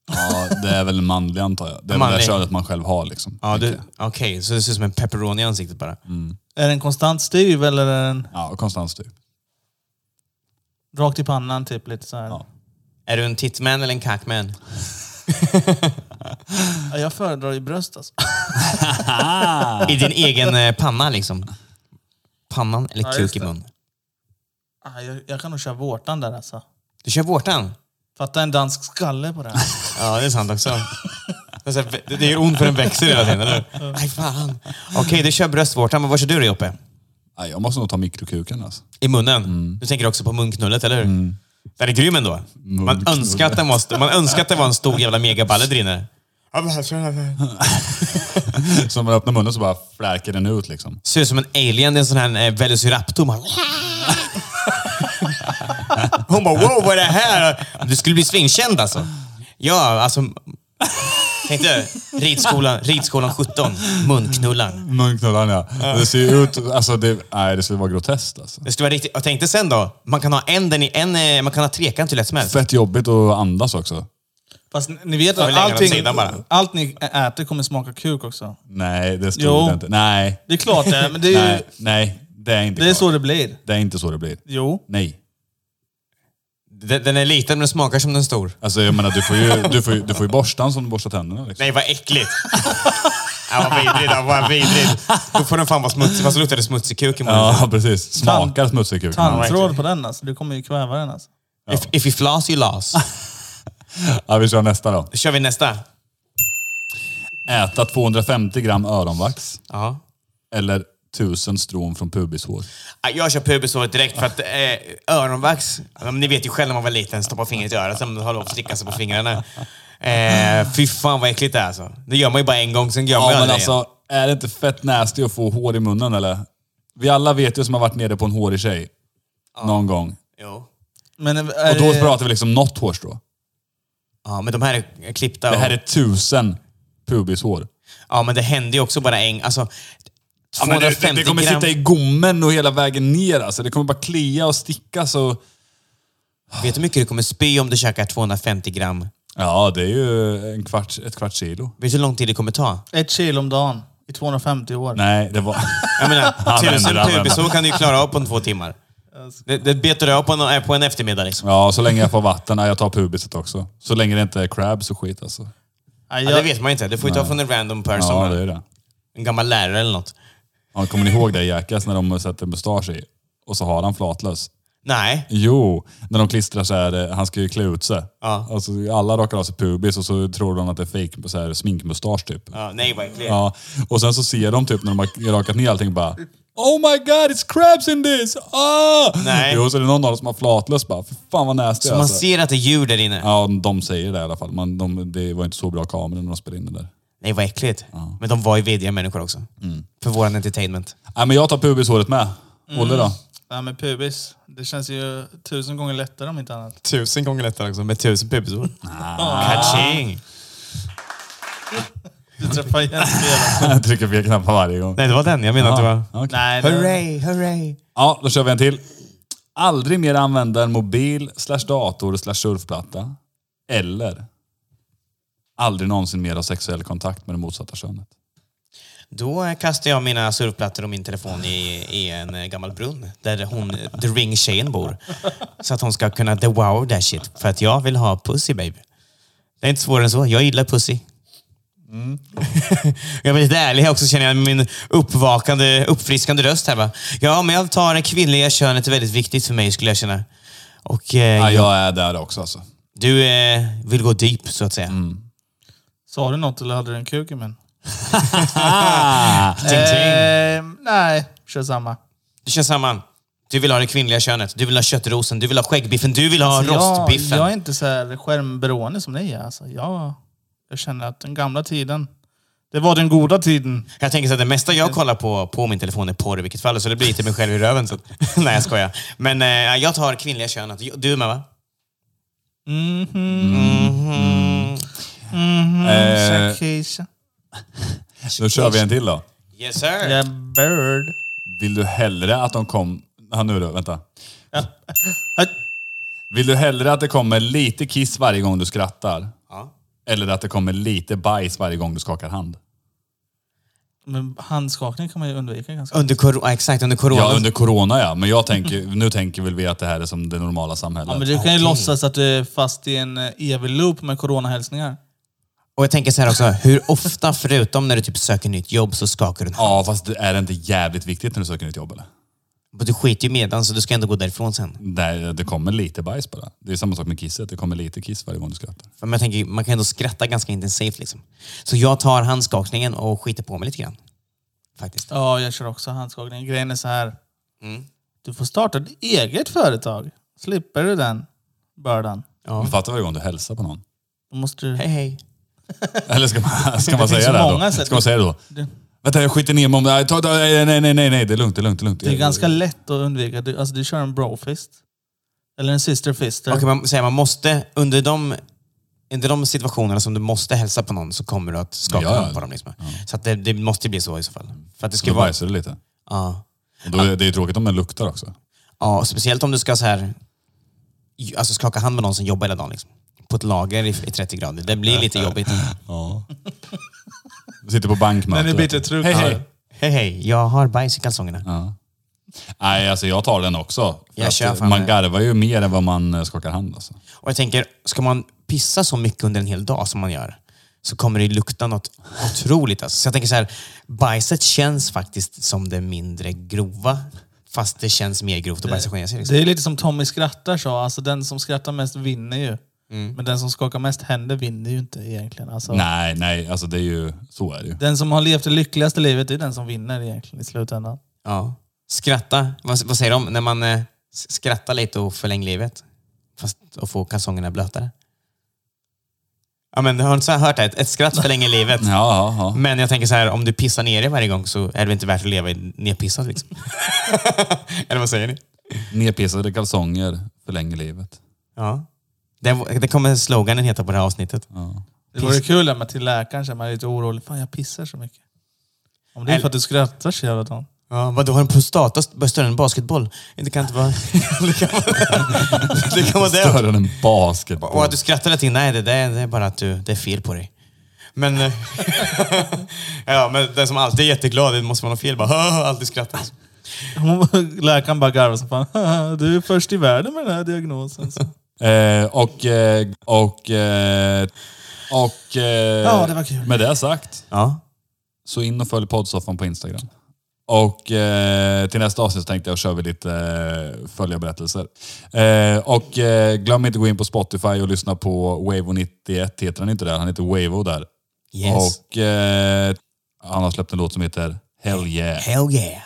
[SPEAKER 5] Ja, det är väl manlig antar jag. Det är väl
[SPEAKER 3] Manlig.
[SPEAKER 5] det könet man själv har liksom.
[SPEAKER 3] Ja,
[SPEAKER 5] tänker
[SPEAKER 3] du-
[SPEAKER 5] jag.
[SPEAKER 3] Okej, så det ser ut som en pepperoni i ansiktet bara.
[SPEAKER 4] Är den konstant styv eller är den
[SPEAKER 5] Ja, konstant typ.
[SPEAKER 4] rakt i pannan typ? Lite så här.
[SPEAKER 5] Ja.
[SPEAKER 4] Ja.
[SPEAKER 3] Är du en titman eller en kackman?
[SPEAKER 4] jag föredrar ju bröst alltså.
[SPEAKER 3] I din egen eh, panna liksom. Pannan eller
[SPEAKER 4] Ja,
[SPEAKER 3] kuk
[SPEAKER 4] just
[SPEAKER 3] i
[SPEAKER 4] det.
[SPEAKER 3] mun.
[SPEAKER 4] Ah, Jag, jag kan nog köra vårtan där alltså.
[SPEAKER 3] Du kör vårtan?
[SPEAKER 4] Fatta en dansk skalle på den.
[SPEAKER 3] Ja, det är sant också. Det är så här, Det gör ont för den växer hela tiden, eller hur? Nej, fan. Okej, du kör bröstvårtan, men vad kör du då Joppe?
[SPEAKER 5] Ja, jag måste nog ta mikrokuken alltså.
[SPEAKER 3] I munnen? Du tänker också på munknullet, eller hur? Den är grym ändå. Man
[SPEAKER 5] Munknullet.
[SPEAKER 3] önskar, att den måste, man önskar att det var en stor jävla megaballe där inne.
[SPEAKER 5] Så när man öppnar munnen så bara flärker den ut liksom.
[SPEAKER 3] Ser ut som en alien. Det är en sån här eh, velociraptor. Man... Hon bara wow, vad är det här? Du skulle bli svinkänd alltså. Ja, alltså... Tänkte ridskolan, ridskolan 17, munknullan.
[SPEAKER 5] Munknullarna ja. Det ser ju ut... Alltså det, nej, det skulle vara groteskt alltså.
[SPEAKER 3] Det skulle vara riktigt... Jag tänkte sen då, man kan ha en, den i en, eh, man kan ha trekant hur lätt som helst.
[SPEAKER 5] Fett jobbigt att andas också.
[SPEAKER 4] Fast ni- ni vet
[SPEAKER 3] vi
[SPEAKER 4] att
[SPEAKER 3] lägger den åt
[SPEAKER 4] allting,
[SPEAKER 3] sidan bara.
[SPEAKER 4] allt ni äter kommer smaka kuk också.
[SPEAKER 5] Nej, det stod
[SPEAKER 4] Jo.
[SPEAKER 5] det inte. Nej,
[SPEAKER 4] Det är klart det är, men det är ju...
[SPEAKER 5] nej, nej. Det är inte
[SPEAKER 4] Det är
[SPEAKER 5] klart.
[SPEAKER 4] så det blir.
[SPEAKER 5] Det är inte så det blir.
[SPEAKER 4] Jo.
[SPEAKER 5] Nej.
[SPEAKER 3] Den, den är liten men den smakar som den stor.
[SPEAKER 5] Alltså jag menar, du får ju, du får ju, du får ju borstan som du borstar tänderna liksom.
[SPEAKER 3] Nej, vad äckligt. ja, vad vidrigt. ja, Vad vidrigt. Då får den fan vara smutsig. Fast då luktar det smutsig kuk i munnen.
[SPEAKER 5] Ja, precis. Smakar smutsig kuk.
[SPEAKER 4] Tandtråd på den alltså. Du kommer ju kväva den alltså.
[SPEAKER 3] If, if you floss, you loss.
[SPEAKER 5] Ja, vi kör nästa då.
[SPEAKER 3] Då kör vi nästa.
[SPEAKER 5] Äta 250 gram öronvax
[SPEAKER 3] Ja.
[SPEAKER 5] eller 1000 strån från pubishår.
[SPEAKER 3] Ja, Äh, Jag kör pubisåret direkt för att eh, öronvax, ja, men ni vet ju själv när man var liten, stoppa fingret i örat sen håller på att slicka sig på fingrarna. Eh, fy fan vad äckligt det är alltså. Det gör man ju bara en gång, sen gör man
[SPEAKER 5] Ja,
[SPEAKER 3] ju
[SPEAKER 5] men
[SPEAKER 3] aldrig igen.
[SPEAKER 5] alltså, är det inte fett nasty att få hår i munnen eller? Vi alla vet ju som har varit nere på en hårig tjej. Någon gång.
[SPEAKER 3] Jo.
[SPEAKER 4] Men eh, är
[SPEAKER 5] Och då
[SPEAKER 4] det-
[SPEAKER 5] pratar vi liksom något hårstrå.
[SPEAKER 3] Ja, men de här är klippta.
[SPEAKER 5] Det här
[SPEAKER 3] och-
[SPEAKER 5] är 1000 pubishår.
[SPEAKER 3] Ja, men det händer ju också bara en... Alltså,
[SPEAKER 5] Ja, men det,
[SPEAKER 3] 250
[SPEAKER 5] det, det kommer
[SPEAKER 3] gram.
[SPEAKER 5] sitta i gommen och hela vägen ner alltså. Det kommer bara klia och sticka så...
[SPEAKER 3] Vet du hur mycket du kommer spy om du käkar 250 gram?
[SPEAKER 5] Ja, det är ju en kvarts, ett kvarts kilo.
[SPEAKER 3] Vet du hur lång tid det kommer ta?
[SPEAKER 4] eh, Ett kilo om dagen i 250 år.
[SPEAKER 5] Nej, det var...
[SPEAKER 3] Jag menar,
[SPEAKER 5] vänder,
[SPEAKER 3] tusen
[SPEAKER 5] han vänder.
[SPEAKER 3] pubisår kan du ju klara av på en två timmar. Det, det betar du av på en, på en eftermiddag liksom.
[SPEAKER 5] Ja, så länge jag får vatten. Ja, jag tar pubiset också. Så länge det inte är crabs och skit alltså.
[SPEAKER 4] Nej,
[SPEAKER 3] Ja,
[SPEAKER 4] jag,
[SPEAKER 3] det vet man ju inte. Det får ju ta från en random person.
[SPEAKER 5] Ja, det är det.
[SPEAKER 3] En gammal lärare eller något.
[SPEAKER 5] Ja, kommer ni ihåg det i Jackass när de sätter mustasch i? Och så har han flatlös.
[SPEAKER 3] Nej.
[SPEAKER 5] Jo, när de klistrar så här, eh, han ska ju klä ut sig.
[SPEAKER 3] Ja.
[SPEAKER 5] Och så alla rakar av sig pubis och så tror de att det är fake, så här, sminkmustasch typ.
[SPEAKER 3] Ja, nej, vad äckligt.
[SPEAKER 5] Ja, och sen så ser de typ när de har rakat ner allting bara Oh my god, it's crabs in this! Ah!
[SPEAKER 3] Nej.
[SPEAKER 5] Jo, så är det någon av dem som har flatlös bara, för fan vad nasty alltså."
[SPEAKER 3] Så man ser att det är djur där inne.
[SPEAKER 5] Ja, de säger det i alla fall. Men de, det var inte så bra kamera när de spelade in det där.
[SPEAKER 3] Nej, vad äckligt. Men de var ju vidriga människor också.
[SPEAKER 5] Mm.
[SPEAKER 3] För våran entertainment.
[SPEAKER 5] Nej, men jag tar pubishåret med.
[SPEAKER 3] Mm.
[SPEAKER 5] Olle då?
[SPEAKER 4] nej men pubis. Det känns ju tusen gånger lättare om inte annat.
[SPEAKER 3] Tusen gånger lättare också, med tusen pubisår.
[SPEAKER 5] Ah.
[SPEAKER 3] Kaching!
[SPEAKER 4] Du träffar igen flera.
[SPEAKER 5] Jag trycker fel knappar varje gång.
[SPEAKER 3] Nej, det var den. Jag menar att det var...
[SPEAKER 5] Ja, Ah, okej.
[SPEAKER 4] Nej, det,
[SPEAKER 3] Hurray, hurray!
[SPEAKER 5] Ja, då kör vi en till. Aldrig mer använda en mobil slash dator slash surfplatta. Eller aldrig någonsin mer ha sexuell kontakt med det motsatta könet.
[SPEAKER 3] Då eh, kastar jag mina surfplattor och min telefon i, i en eh, gammal brunn där hon, the ring-tjejen bor. Så att hon ska kunna the wow that shit. För att jag vill ha pussy baby. Det är inte svårare än så. Jag gillar pussy.
[SPEAKER 5] Mm.
[SPEAKER 3] jag blir lite ärlig här också känner jag med min uppvakande, uppfriskande röst här va. Ja, men jag tar det kvinnliga könet är väldigt viktigt för mig skulle jag känna. Och eh,
[SPEAKER 5] Ja, jag är där också alltså.
[SPEAKER 3] du eh, vill gå deep så att säga.
[SPEAKER 4] Sa du något eller hade du en kuk i mun?
[SPEAKER 3] Ting, ting.
[SPEAKER 4] Ehm, nej, kör samma.
[SPEAKER 3] Du kör samman. Du vill ha det kvinnliga könet, du vill ha köttrosen, du vill ha skäggbiffen, du vill ha rostbiffen.
[SPEAKER 4] Alltså, Jag, jag är inte så här skärmberoende som ni är. Alltså, jag, jag känner att den gamla tiden, det var den goda tiden.
[SPEAKER 3] Jag tänker så att det mesta jag kollar på på min telefon är porr i vilket fall, så det blir lite mig själv i röven. Så. att- Nej, jag skojar. Men eh, jag tar kvinnliga könet. Du med va?
[SPEAKER 4] Mm,
[SPEAKER 5] Eh,
[SPEAKER 4] Shakisha.
[SPEAKER 5] då kör vi en till då.
[SPEAKER 3] Yes sir!
[SPEAKER 4] Yeah, bird.
[SPEAKER 5] Vill du hellre att de kom... Ja, nu då, vänta.
[SPEAKER 4] Hej.
[SPEAKER 5] Vill du hellre att det kommer lite kiss varje gång du skrattar?
[SPEAKER 3] Ja.
[SPEAKER 5] Eller att det kommer lite bajs varje gång du skakar hand?
[SPEAKER 4] Men handskakning kan man ju undvika ganska
[SPEAKER 3] Under corona, exakt, under corona.
[SPEAKER 5] Ja, under corona ja. Men jag tänker, nu tänker väl vi att det här är som det normala samhället.
[SPEAKER 4] Ja, men du kan ju låtsas att du är fast i en eh, evig loop med coronahälsningar.
[SPEAKER 3] Och jag tänker så här också, hur ofta, förutom när du typ söker nytt jobb, så skakar du en hand?
[SPEAKER 5] Ja, fast det är inte jävligt viktigt när du söker nytt jobb eller?
[SPEAKER 3] Men Du skiter ju medan, så du ska ändå gå därifrån sen.
[SPEAKER 5] Nej, det kommer lite bajs bara. Det är samma sak med kisset. Det kommer lite kiss varje gång du skrattar.
[SPEAKER 3] För jag tänker, man kan ändå skratta ganska intensivt liksom. Så jag tar handskakningen och skiter på mig lite grann. Faktiskt.
[SPEAKER 4] Ja, jag kör också handskakning. Grejen är så här. Mm. Du får starta ett eget företag. Slipper du den bördan.
[SPEAKER 3] Ja.
[SPEAKER 5] Men fatta varje gång du hälsar på någon.
[SPEAKER 4] Då måste du...
[SPEAKER 3] Hej hej.
[SPEAKER 5] Eller ska man, ska man
[SPEAKER 4] finns
[SPEAKER 5] säga
[SPEAKER 4] så
[SPEAKER 5] det här
[SPEAKER 4] många
[SPEAKER 5] då?
[SPEAKER 4] sätt.
[SPEAKER 5] Ska man säga det då?
[SPEAKER 4] Det-
[SPEAKER 5] Vänta, jag skiter ner mig om det här. Ta- ta- Nej, nej, nej, nej, nej, det är lugnt, det är lugnt, det är lugnt.
[SPEAKER 4] Det är ganska lätt att undvika. Du, alltså, du kör en brofist. Eller en sisterfister.
[SPEAKER 3] Okej, man säger man måste, under de, under de situationerna som du måste hälsa på någon så kommer du att skaka
[SPEAKER 5] Ja, ja.
[SPEAKER 3] hand på dem. Liksom. Så att det, det måste ju bli så i så fall. För att det ska
[SPEAKER 5] Då
[SPEAKER 3] vara...
[SPEAKER 5] bajsar du lite.
[SPEAKER 3] Ja.
[SPEAKER 5] Och då, är- det är tråkigt om den luktar också.
[SPEAKER 3] ja, speciellt om du ska så här, ju- alltså skaka hand med någon som jobbar hela dagen. Liksom. På ett lager i, i 30 grader. Det blir lite jobbigt.
[SPEAKER 5] Ja. Du sitter på bankmöte.
[SPEAKER 4] Den är
[SPEAKER 5] vet
[SPEAKER 4] lite
[SPEAKER 5] du.
[SPEAKER 4] trött.
[SPEAKER 5] Hej, hej.
[SPEAKER 3] Hej hej, jag har bajs i kalsongerna.
[SPEAKER 5] Nej, alltså jag tar den också. För
[SPEAKER 3] Jag
[SPEAKER 5] att,
[SPEAKER 3] kör
[SPEAKER 5] eh,
[SPEAKER 3] fan
[SPEAKER 5] man
[SPEAKER 3] det.
[SPEAKER 5] garvar ju mer än vad man eh, skakar hand alltså.
[SPEAKER 3] Och jag tänker, ska man pissa så mycket under en hel dag som man gör så kommer det lukta något otroligt. Alltså. Så jag tänker så här, bajset känns faktiskt som det mindre grova. Fast det känns mer grovt att bajsa på sig. Liksom.
[SPEAKER 4] Det är lite som Tommy skrattar sa. Alltså, den som skrattar mest vinner ju. Men den som skakar mest händer vinner ju inte egentligen. Alltså,
[SPEAKER 5] Nej, nej, alltså det är ju, så är det ju.
[SPEAKER 4] Den som har levt det lyckligaste livet, det är den som vinner egentligen i slutändan.
[SPEAKER 3] Ja. Skratta, vad, vad säger de? När man eh, s- skrattar lite och förlänger livet. Fast och får kalsongerna blötare. Ja, men, har du inte så här hört det? Ett, ett skratt förlänger livet.
[SPEAKER 5] Ja, ja, ja.
[SPEAKER 3] Men jag tänker så här, om du pissar ner dig varje gång så är det väl inte värt att leva i- nerpissad liksom. Eller vad säger ni?
[SPEAKER 5] Nerpissade kalsonger förlänger livet.
[SPEAKER 3] Ja. Det, det kommer sloganen heta på det här avsnittet.
[SPEAKER 4] Det vore kul när man till läkaren så är man är lite orolig. Fan, jag pissar så mycket. Om det är för att du skrattar så jävla dagen.
[SPEAKER 3] Ja, vad du har en prostata st- större än en basketboll? Det kan inte vara... det kan vara det. Kan vara det.
[SPEAKER 5] Större än en basketboll.
[SPEAKER 3] Och att du skrattar lite, nej det, det, det är bara att du, det är fel på dig. Men, eh, ja, men den som alltid är jätteglad, det måste man ha fel. Bara, alltid skrattar.
[SPEAKER 4] Läkaren bara garvar som fan. Du är först i världen med den här diagnosen. Så.
[SPEAKER 5] Eh, och... eh, Och... eh, Och... eh,
[SPEAKER 4] Ja, det var kul.
[SPEAKER 5] Med det sagt,
[SPEAKER 3] Ja.
[SPEAKER 5] så in och följ poddsoffan på Instagram. Och eh, till nästa avsnitt så tänkte jag kör vi lite eh, följarberättelser. Eh, och eh, glöm inte att gå in på Spotify och lyssna på Wavo 91 heter han inte där, han heter Wavo där.
[SPEAKER 3] Yes.
[SPEAKER 5] Och eh, han har släppt en låt som heter Hell yeah.
[SPEAKER 3] Hell yeah.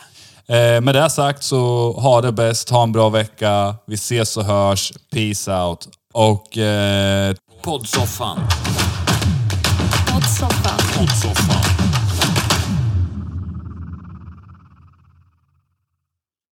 [SPEAKER 5] Eh, med det sagt så ha det bäst, ha en bra vecka. Vi ses och hörs. Peace out. Och eh,
[SPEAKER 1] Poddsoffan.